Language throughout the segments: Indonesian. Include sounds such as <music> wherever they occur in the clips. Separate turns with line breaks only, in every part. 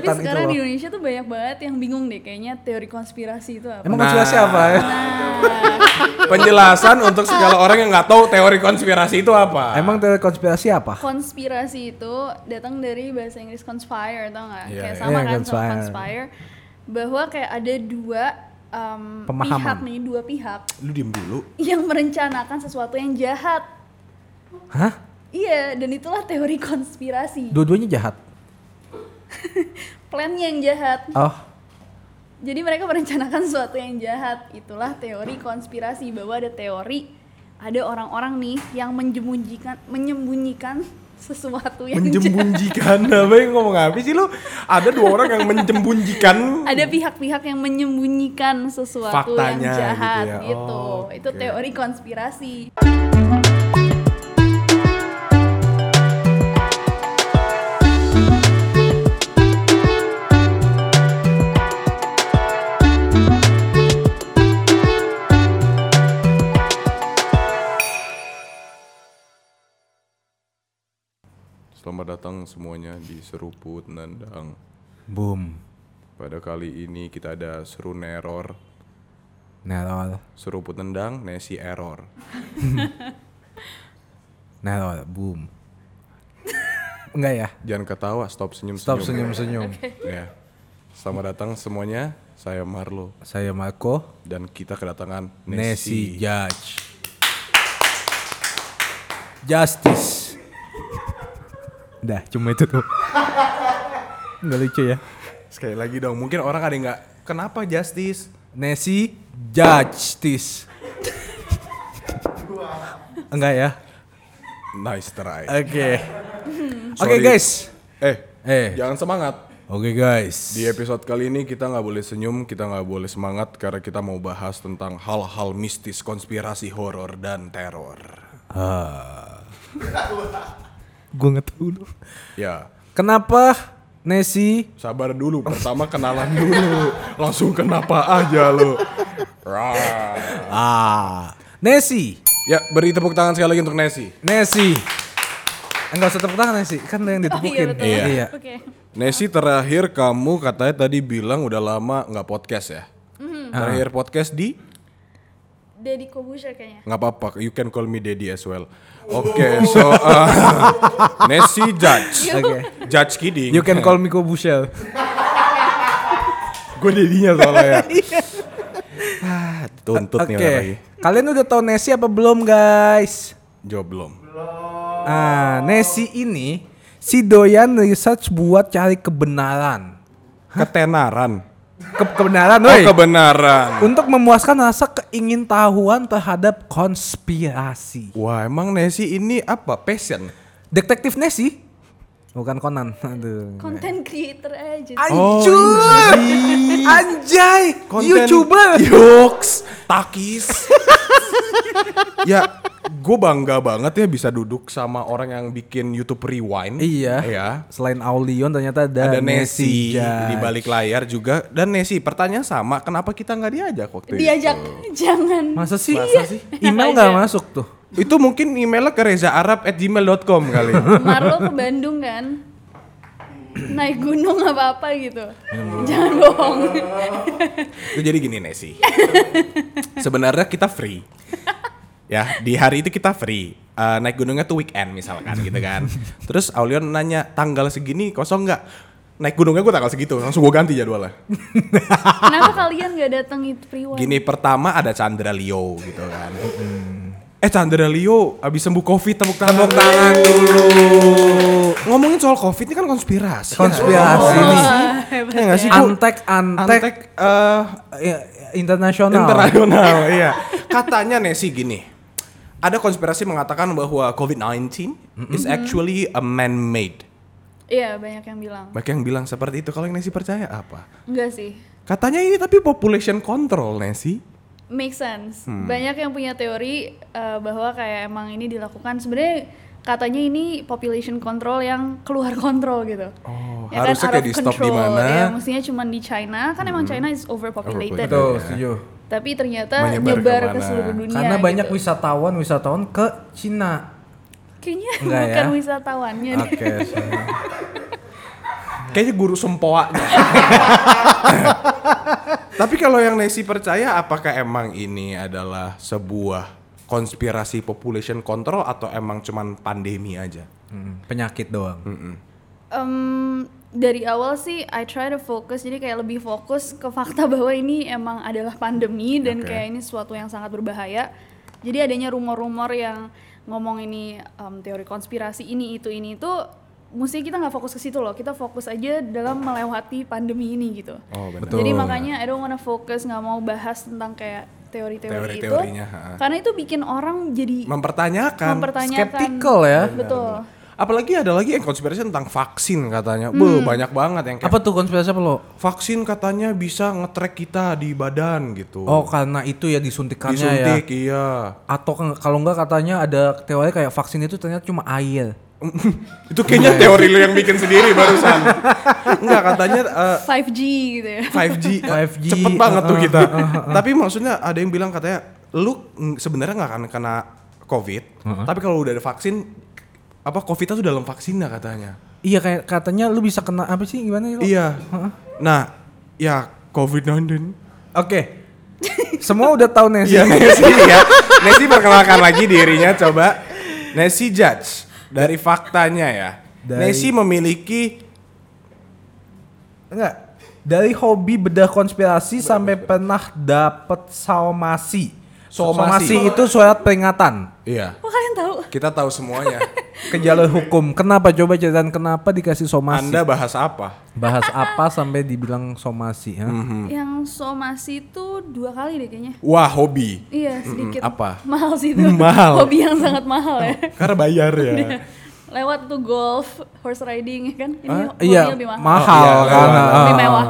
Bulutan itu
sekarang
gitu loh.
di Indonesia tuh banyak banget yang bingung deh kayaknya teori konspirasi itu apa.
Emang
Nah.
konspirasi apa ya?
Nah, <laughs>
Penjelasan untuk segala orang yang nggak tahu teori konspirasi itu apa.
Emang teori konspirasi apa?
konspirasi itu datang dari bahasa Inggris conspire tau nggak?
Iya,
kayak
iya.
sama
Iya,
kan sama
conspire.
conspire. Bahwa kayak ada dua um,
Pemahaman.
pihak nih, dua pihak
lu diem dulu.
yang merencanakan sesuatu yang jahat.
Hah?
Iya, dan itulah teori konspirasi.
Dua-duanya jahat.
Plannya yang jahat.
Oh,
Jadi mereka <laughs> merencanakan sesuatu yang jahat. Itulah teori konspirasi bahwa ada teori ada orang-orang nih yang menjemunjikan menyembunyikan sesuatu yang jahat.
Menjembunjikan <laughs> apa yang ngomong apa sih lu? Ada dua orang yang menjembunjikan lu.
Ada pihak-pihak yang menyembunyikan sesuatu
Faktanya
yang
gitu
jahat
ya.
gitu.
Oh,
Itu
oke. Oh,
teori konspirasi.
Selamat datang semuanya di Seruput Nandang.
boom.
Pada kali ini kita ada Serun Error,
Nerol,
Seruput Nendang, Nesi Error.
nerol, boom. Enggak ya?
Jangan ketawa, stop senyum-senyum.
Stop senyum-senyum.
Ya. Selamat datang semuanya, saya Marlo.
Saya Marco,
Dan kita kedatangan
Nesi
Nesi.
Judge. Justice. Dah, cuma itu tuh. Enggak lucu ya.
Sekali lagi dong, mungkin orang ada yang nggak, kenapa Justice?
Nesi Justice. Enggak ya?
Nice try.
Oke. Oke
Sorry.
guys.
Eh,
Eh.
jangan semangat.
Oke guys.
Di episode kali ini kita nggak boleh senyum, kita nggak boleh semangat karena kita mau bahas tentang hal-hal mistis, konspirasi, horor dan teror.
Gue ngetu dulu.
Ya,
Kenapa Nesi?
sabar dulu. Pertama kenalan dulu, langsung kenapa aja lo. Rah.
Ah, Nesi.
Ya, beri tepuk tangan sekali lagi untuk Nesi.
Nesi. Enggak usah tepuk tangan Nesi, kan lo yang
Oh iya
ditepukin.
betul.
Iya.
Oke.
Nesi terakhir kamu katanya tadi bilang udah lama nggak podcast ya. Terakhir podcast di
Deddy Kobusher kayaknya.
nggak apa-apa. You can call me Daddy as well. Oke, so uh, <laughs> Nesi judge,
Oke.
judge kidding.
You can call me Kobushel.
Gue dedinya soalnya. ya. ah, tuntut
Oke.
nih orang lagi.
Kalian udah tahu Nesi apa belum, guys?
Jawab belum.
Ah, Nesi ini si doyan research buat cari kebenaran.
Ketenaran.
Ke- kebenaran,
Oh,
woi.
kebenaran.
untuk memuaskan rasa keingintahuan terhadap konspirasi.
Wah, emang Nesi ini apa? Passion.
Detektif Nesi? Bukan Conan. <laughs> Aduh.
Content
Iya.
creator aja.
Anjir. Anjay. YouTuber.
Yoks,
<laughs>
takis. ya, gue bangga banget ya bisa duduk sama orang yang bikin YouTube Rewind.
Iya.
Iya.
Selain Aulion ternyata ada,
Ada Nesi
Judge.
di balik layar juga dan Nesi pertanyaan sama kenapa kita nggak diajak waktu itu?
Diajak <laughs> jangan.
Masa sih?
Masa sih? Iya.
Email
Iya.
nggak masuk tuh.
Itu mungkin emailnya ke rezaarab@gmail.com kali.
Marlo ke Bandung kan naik gunung apa apa gitu
Iya.
jangan bohong
Itu jadi gini Nesi. Sebenarnya kita free. Ya, di hari itu kita free. Eh, naik gunungnya tuh weekend misalkan gitu kan. Terus Aulion nanya, tanggal segini kosong nggak? Naik gunungnya gue tanggal segitu, langsung gue ganti jadwalnya.
kenapa kalian gak datang itu priwat
Gini pertama ada Chandra Leo gitu kan. Eh Chandra Leo abis sembuh covid tepuk tangan. Tepuk tangan dulu. Ngomongin soal covid ini kan konspirasi.
Konspirasi nih.
Ah,
Ya nggak sih? Bu?
Antek, antek,
Antek eh,
ya, internasional.
internasional <laughs> iya katanya Nesi gini ada konspirasi mengatakan bahwa COVID-19 is actually a man-made
iya banyak yang bilang
banyak yang bilang seperti itu kalau yang Nesi percaya apa
enggak sih
katanya ini tapi population control Nesi
make sense
Hmm.
banyak yang punya teori eh, bahwa kayak emang ini dilakukan sebenarnya katanya ini population control yang keluar kontrol gitu
Oh,
Ya kan,
harusnya
out
kayak
of
di stop di
control.
mana. Hmm.
Ya, mestinya cuma di China kan emang China is overpopulated
Betul,
Iya.
setuju.
tapi ternyata
Menyebar
nyebar ke
kemana.
seluruh dunia
Karena banyak
gitu.
wisatawan-wisatawan ke Cina.
Kayaknya
Enggak ya?
bukan wisatawannya deh.
Oke. sorry.
Kayaknya guru sempoanya. <laughs> Tapi kalau yang Nesi percaya apakah emang ini adalah sebuah konspirasi population control atau emang cuman pandemi aja?
Mm, penyakit doang.
Em, dari awal sih I try to focus jadi kayak lebih fokus ke fakta bahwa ini emang adalah pandemi dan
Oke.
kayak ini sesuatu yang sangat berbahaya. Jadi adanya rumor-rumor yang ngomong ini em, teori konspirasi ini itu ini itu mesti kita nggak fokus ke situ loh. Kita fokus aja dalam melewati pandemi ini gitu.
Oh, benar.
Jadi
Betul.
makanya I don't wanna focus nggak mau bahas tentang kayak teori-teori itu.
Teori-teorinya, ha.
Karena itu bikin orang jadi
Mempertanyakan.
mempertanyakan.
Skeptical ya.
Betul.
Apalagi ada lagi yang konspirasi tentang vaksin katanya. Beuh, banyak banget yang kayak
Hmm. Apa tuh konspirasi apa lo?
vaksin katanya bisa nge-track kita di badan gitu.
Oh karena itu ya disuntikannya ya.
disuntik iya. <laughs>
Atau ke- kalau enggak katanya ada teori kayak vaksin itu ternyata cuma air.
Itu kayaknya teori lu yang bikin sendiri barusan. Enggak katanya eh,
5G gitu ya.
5G, eh,
5G,
cepet banget tuh
uh,
kita. Tapi maksudnya ada yang bilang katanya lu mm, sebenarnya nggak akan kena COVID, tapi kalau udah ada vaksin apa COVID-nya tuh dalam vaksinnya katanya.
Iya kayak katanya lu bisa kena apa sih gimana ya? lo?
Iya. Nah, ya COVID-19.
Oke. Semua udah tahu Nesi.
Iya Nesi ya. Nesi perkenalkan lagi dirinya coba. Nesi judge dari faktanya ya.
Dari-
Nesi memiliki
Enggak. Dari hobi bedah konspirasi sampai pernah dapat somasi.
Somasi.
Somasi itu surat peringatan
iya.
Kok kalian tahu?
Kita tahu
<laughs>
semuanya.
ke jalur hukum. Kenapa coba ceritain kenapa dikasih somasi?
Anda bahas apa?
Bahas apa sampai dibilang somasi? ya? ha?
Mhm.
Yang somasi itu dua kali deh kayaknya.
Wah, hobi.
Iya sedikit.
apa?
Mahal sih itu.
Mahal.
Hobi yang sangat mahal ya.
Karena bayar ya.
Lewat tuh golf, horse riding ya kan. Ini
Hah?
hobi
Iya,
lebih mahal.
mahal
Oh, iya,
kan.
lewat.
ah.
Lebih mewah.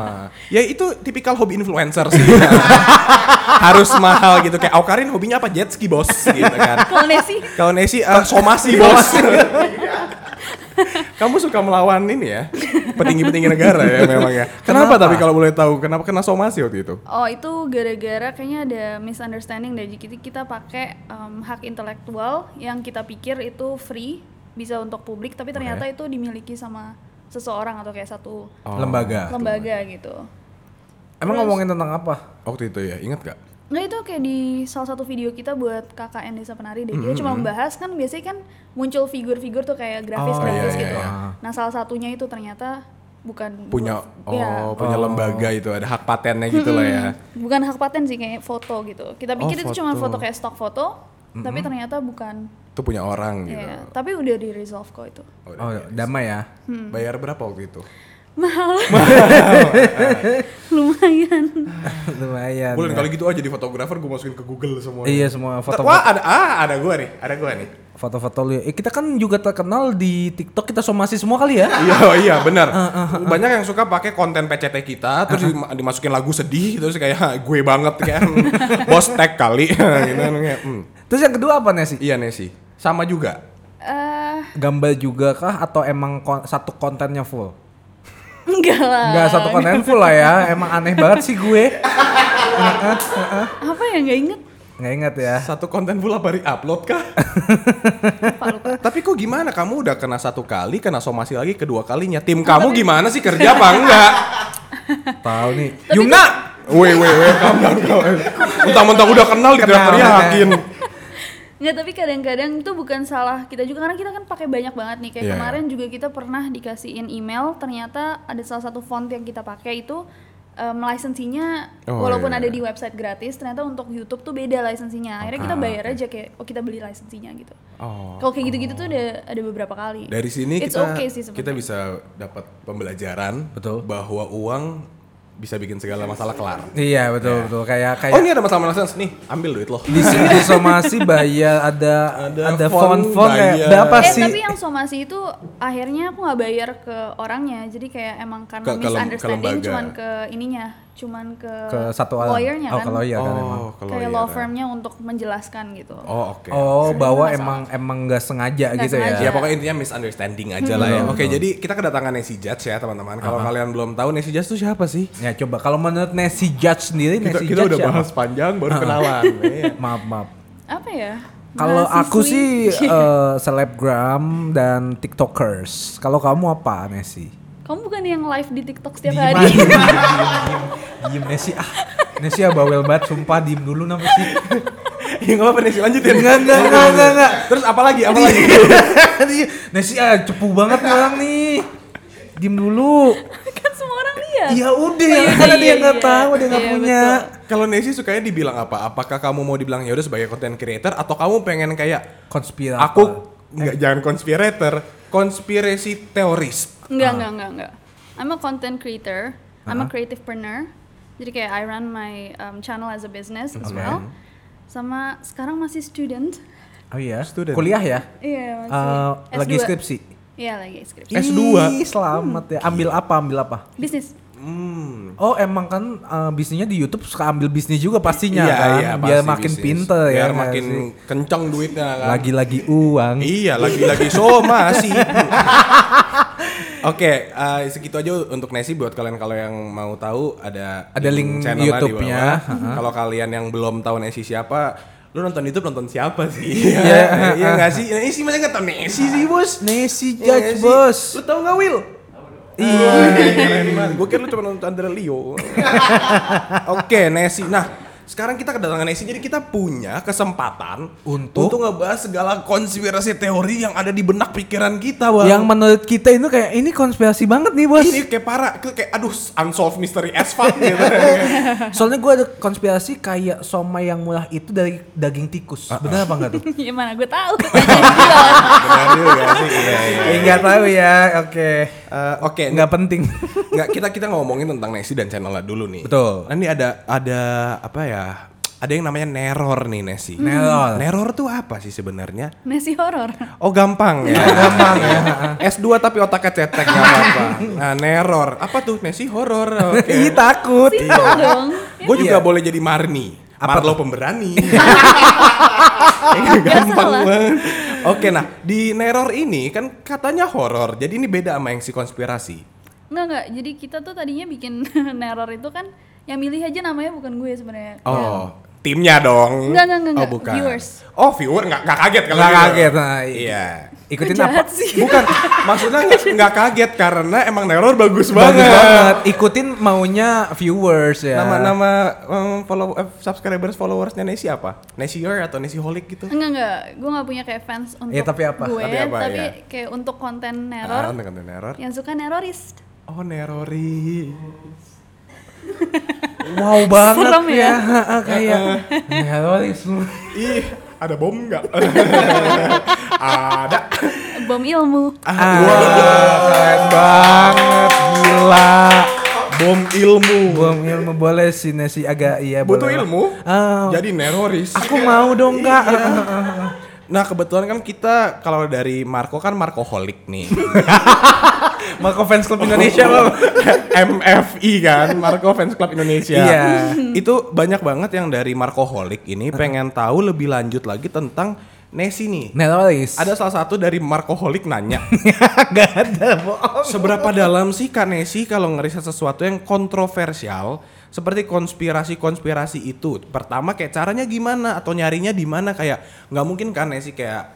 ya itu tipikal hobi influencer sih. <laughs> Harus mahal gitu kayak Aukarin hobinya apa jet ski bos gitu kan.
Kalau Nesi,
Kalau Nesi eh, somasi bos. <laughs> Kamu suka melawan ini ya, petinggi-petinggi negara ya memang ya. Kenapa,
Kenapa?
tapi kalau boleh tahu kenapa kena somasi waktu itu?
oh itu gara-gara kayaknya ada misunderstanding deh. Jadi kita pakai em, hak intelektual yang kita pikir itu free, bisa untuk publik, tapi ternyata itu dimiliki sama seseorang atau kayak satu
Lembaga.
Ah,
lembaga gitu.
Emang ngomongin tentang apa?
Waktu itu ya, ingat gak?
Nggak itu kayak di salah satu video kita buat KKN Desa Penari deh. Kita cuma membahas kan biasanya kan muncul figur-figur tuh kayak grafis-grafis
iya, iya,
gitu.
iya.
Nah, salah satunya itu ternyata bukan
Punya,
buat-
oh
ya,
punya lembaga itu, ada hak patennya gitu lah ya.
bukan hak paten sih kayak foto gitu.
Oh,
Kita pikir itu cuma foto kayak stok foto, tapi ternyata bukan.
Itu punya orang gitu.
Ya, tapi udah di resolve kok itu.
Oh, iya.
Oh, damai ya. <laughs>
Bayar berapa waktu itu?
Lumayan.
Lumayan.
Bulan
ya.
kalau gitu aja jadi fotografer gue masukin ke Google semua. ya.
Iya semua foto
Wah ada ah ada gua nih, ada gua nih.
foto-foto lu. ya. Eh, kita kan juga terkenal di TikTok kita somasi semua kali ya. <laughs>
Iya iya benar. Banyak yang suka pakai konten PCT kita terus dima- dimasukin lagu sedih terus kayak "Hah, gue banget kayak "Hmm, <laughs> bos tag kali. <laughs> Gitu, kayak, "Hmm."
Terus yang kedua apa Nesi?
Iya Nesi, sama juga.
Eh, <laughs>
Gambar juga kah atau emang kon- satu kontennya full?
enggak lah.
Enggak satu konten full lah ya. Emang aneh banget sih gue.
Apa ya nggak inget?
Nggak inget ya.
Satu konten pula baru upload kah? <laughs> Tapi kok gimana kamu udah kena satu kali, kena somasi lagi kedua kalinya. Tim kamu gimana sih kerja apa enggak?
Tahu nih.
Yumna. Weh weh <laughs> weh, calm down, calm down. Mentang-mentang udah kenal di
Kenal,
teriakin.
Nggak, tapi kadang-kadang itu bukan salah kita juga karena kita kan pakai banyak banget nih kayak
Iya,
kemarin juga kita pernah dikasihin email ternyata ada salah satu font yang kita pakai itu em, lisensinya
Oh,
walaupun
iya,
ada
iya.
di website gratis ternyata untuk YouTube tuh beda lisensinya akhirnya kita bayar aja kayak oh kita beli lisensinya gitu
Ah, Oh.
kalau kayak gitu-gitu tuh ada ada beberapa kali
Dari sini
It's
kita
okay sih sebenarnya.
kita bisa dapat pembelajaran
Betul.
bahwa uang bisa bikin segala masalah kelar.
Iya betul betul kayak kayak Iya
Oh ini ada masalah-masalah nih, ambil duit lo.
di sini di somasi bayar ada
Ada
ada,
font
font font
bayar.
kayak berapa
eh
sih?
tapi yang somasi itu akhirnya aku nggak bayar ke orangnya jadi kayak emang karena
Ke- ke lem- ke
misunderstanding
lembaga.
cuman ke ininya cuman ke,
Ke satu orang.
lawyernya
oh,
kan
ke lawyer kan emang.
Oh, kalau
kayak
iya,
law
kan.
firmnya untuk menjelaskan gitu
Oh oke.
Oh, bahwa emang emang nggak sengaja
Nggak
gitu
sengaja.
ya.
Ya pokoknya intinya misunderstanding aja
Iya,
lah ya. Oke, jadi kita kedatangan Nancy Judge ya teman-teman. Kalau kalian belum tahu Nancy Judge itu siapa sih?
Ya coba kalau menurut Nancy Judge sendiri
Kita,
Nancy
kita
Judge
udah
siapa?
bahas panjang baru kenalan. <laughs> Iya.
Maaf maaf.
apa ya
Kalau
Mahasiswi.
aku
<laughs>
sih eh, selebgram dan tiktokers. Kalau kamu apa Nancy?
Kamu bukan yang live di TikTok setiap
Diem,
hari?
diem,
<laughs>
diem, diem, diem. Diem, Nesi ah. Nesi ah bawel banget sumpah diem dulu nama sih. <laughs>
ya nggak apa-apa Nesi lanjutin
Enggak enggak enggak enggak enggak.
terus apa lagi apa lagi
Nesi ah cepu banget nih orang nih. Diem dulu.
kan semua orang lihat.
Ya udah,
iya,
karena
iya,
dia nggak
iya.
tahu, dia nggak
Iya,
punya.
betul.
kalau Nesi sukanya dibilang apa apakah kamu mau dibilang ya udah sebagai content creator atau kamu pengen kayak
Konspirasi.
aku nggak jangan conspirator konspirasi teoris
Ah.
Enggak, enggak, enggak, enggak. I'm a content creator. I'm a creativepreneur. Jadi kayak I run my um, channel as a business as
Okay.
well. Sama sekarang masih student.
Oh iya,
Student.
kuliah ya?
Iya, masih.
Eh,
S2.
lagi skripsi.
Iya, lagi skripsi.
S2.
Ih, selamat ya. Ambil apa? Ambil apa?
Bisnis. <laughs>
hmm
Oh, emang kan eh, bisnisnya di YouTube suka ambil bisnis juga pastinya
Iya,
kan.
iya,
biar
pasti
makin
bisnis.
pinter ya.
biar
nggak
makin
sih?
kenceng duitnya kan
lagi-lagi uang.
Iya, lagi-lagi
<laughs>
somasi. Oke, eh, segitu aja untuk Nesi buat kalian kalau yang mau tahu ada
Ada link
channelnya di bawah.
YouTube-nya.
Kalau kalian yang belum tahu Nesi siapa, lu nonton YouTube nonton siapa sih? Iya, iya nggak sih? Nesi masa nggak tahu Nesi sih bos.
Nesi
Iya nggak
Judge
sih?
Bos.
Lu tahu nggak Will? Iya,
<laughs>
gue kira lu cuma nonton Andra Leo. Oke, Nesi. Nah, sekarang kita kedatangan Nesi, jadi kita punya kesempatan
Untuk?
ngebahas segala konspirasi teori yang ada di benak pikiran kita, bang.
Yang menurut kita itu kayak ini konspirasi banget nih, Bos.
ini kayak parah, kayak aduh unsolved mystery as fuck
<laughs>
gitu.
Soalnya gue ada konspirasi kayak soma yang murah itu dari daging tikus.
Ah,
Benar apa enggak
<laughs>
tuh?
Gimana gue
<laughs>
tahu?
Benar juga sih, iya, iya.
Enggak tahu ya. Oke.
Eh, Oke,
Enggak penting.
Nggak, kita kita ngomongin tentang Nesi dan channelnya dulu nih.
Betul.
Nah, ini ada ada apa ya? Ada yang namanya neror nih Nesi.
Neror.
Neror tuh apa sih sebenarnya?
Nasi horor.
Oh gampang ya. gampang <laughs> ya. S2 tapi otaknya cetek gak <laughs> apa-apa. Nah, neror. Apa tuh? Nesi horor.
<laughs> Ih, takut.
Iya.
Simpel dong.
Gue juga boleh jadi Marni. Marlo <laughs> pemberani. gampang
salah.
banget. Oke, nah di neror ini kan katanya horor. Jadi ini beda sama yang si konspirasi.
Enggak, enggak. Jadi kita tuh tadinya bikin <laughs> neror itu kan yang milih aja namanya bukan gue sebenarnya.
Oh, timnya dong.
Enggak, enggak, enggak,
Oh,
enggak.
bukan.
Viewers.
Oh, viewer enggak enggak kaget kalau
Enggak
gitu.
kaget. Nah, i-
Iya.
Ikutin
Kok
apa?
jahat sih?
Bukan, maksudnya enggak, enggak kaget karena emang neror bagus
Bagus
banget.
banget. Ikutin maunya viewers ya.
Nama-nama um, follow eh, subscribers followersnya Nesi apa? Nesier atau Nesiholic gitu?
Enggak enggak, gue nggak punya kayak fans untuk
Ya, tapi apa? Iya.
gue,
Tapi
tapi,
apa, ya?
kayak untuk konten
Ah,
neror
konten neror.
yang suka nerorist.
Oh, nerori.
Wow banget
Serem
ya.
ya.
Ha-ha, Kayak Iya, teroris lu.
Ih, ada bom
<laughs>
nggak? ada.
Bom ilmu.
Ah, keren banget gila.
Bom ilmu.
Bom ilmu boleh sih Nesi agak iya
Butuh
boleh.
ilmu.
Ah,
Jadi Iya. neroris.
aku mau dong kak.
Nah, kebetulan kan kita kalau dari Marco kan Marcoholic nih.
Marco Fans Club Indonesia
<laughs>
loh.
MFI kan, Marco Fans Club Indonesia.
Iya.
Itu banyak banget yang dari Marcoholic ini pengen tahu lebih lanjut lagi tentang Nesi nih.
Teroris.
Ada salah satu dari Marcoholic nanya,
Gak ada bohong.
seberapa dalam sih Kak Nesi kalau ngeriset sesuatu yang kontroversial seperti konspirasi-konspirasi itu? Pertama kayak caranya gimana atau nyarinya di mana kayak nggak mungkin Kak Nesi kayak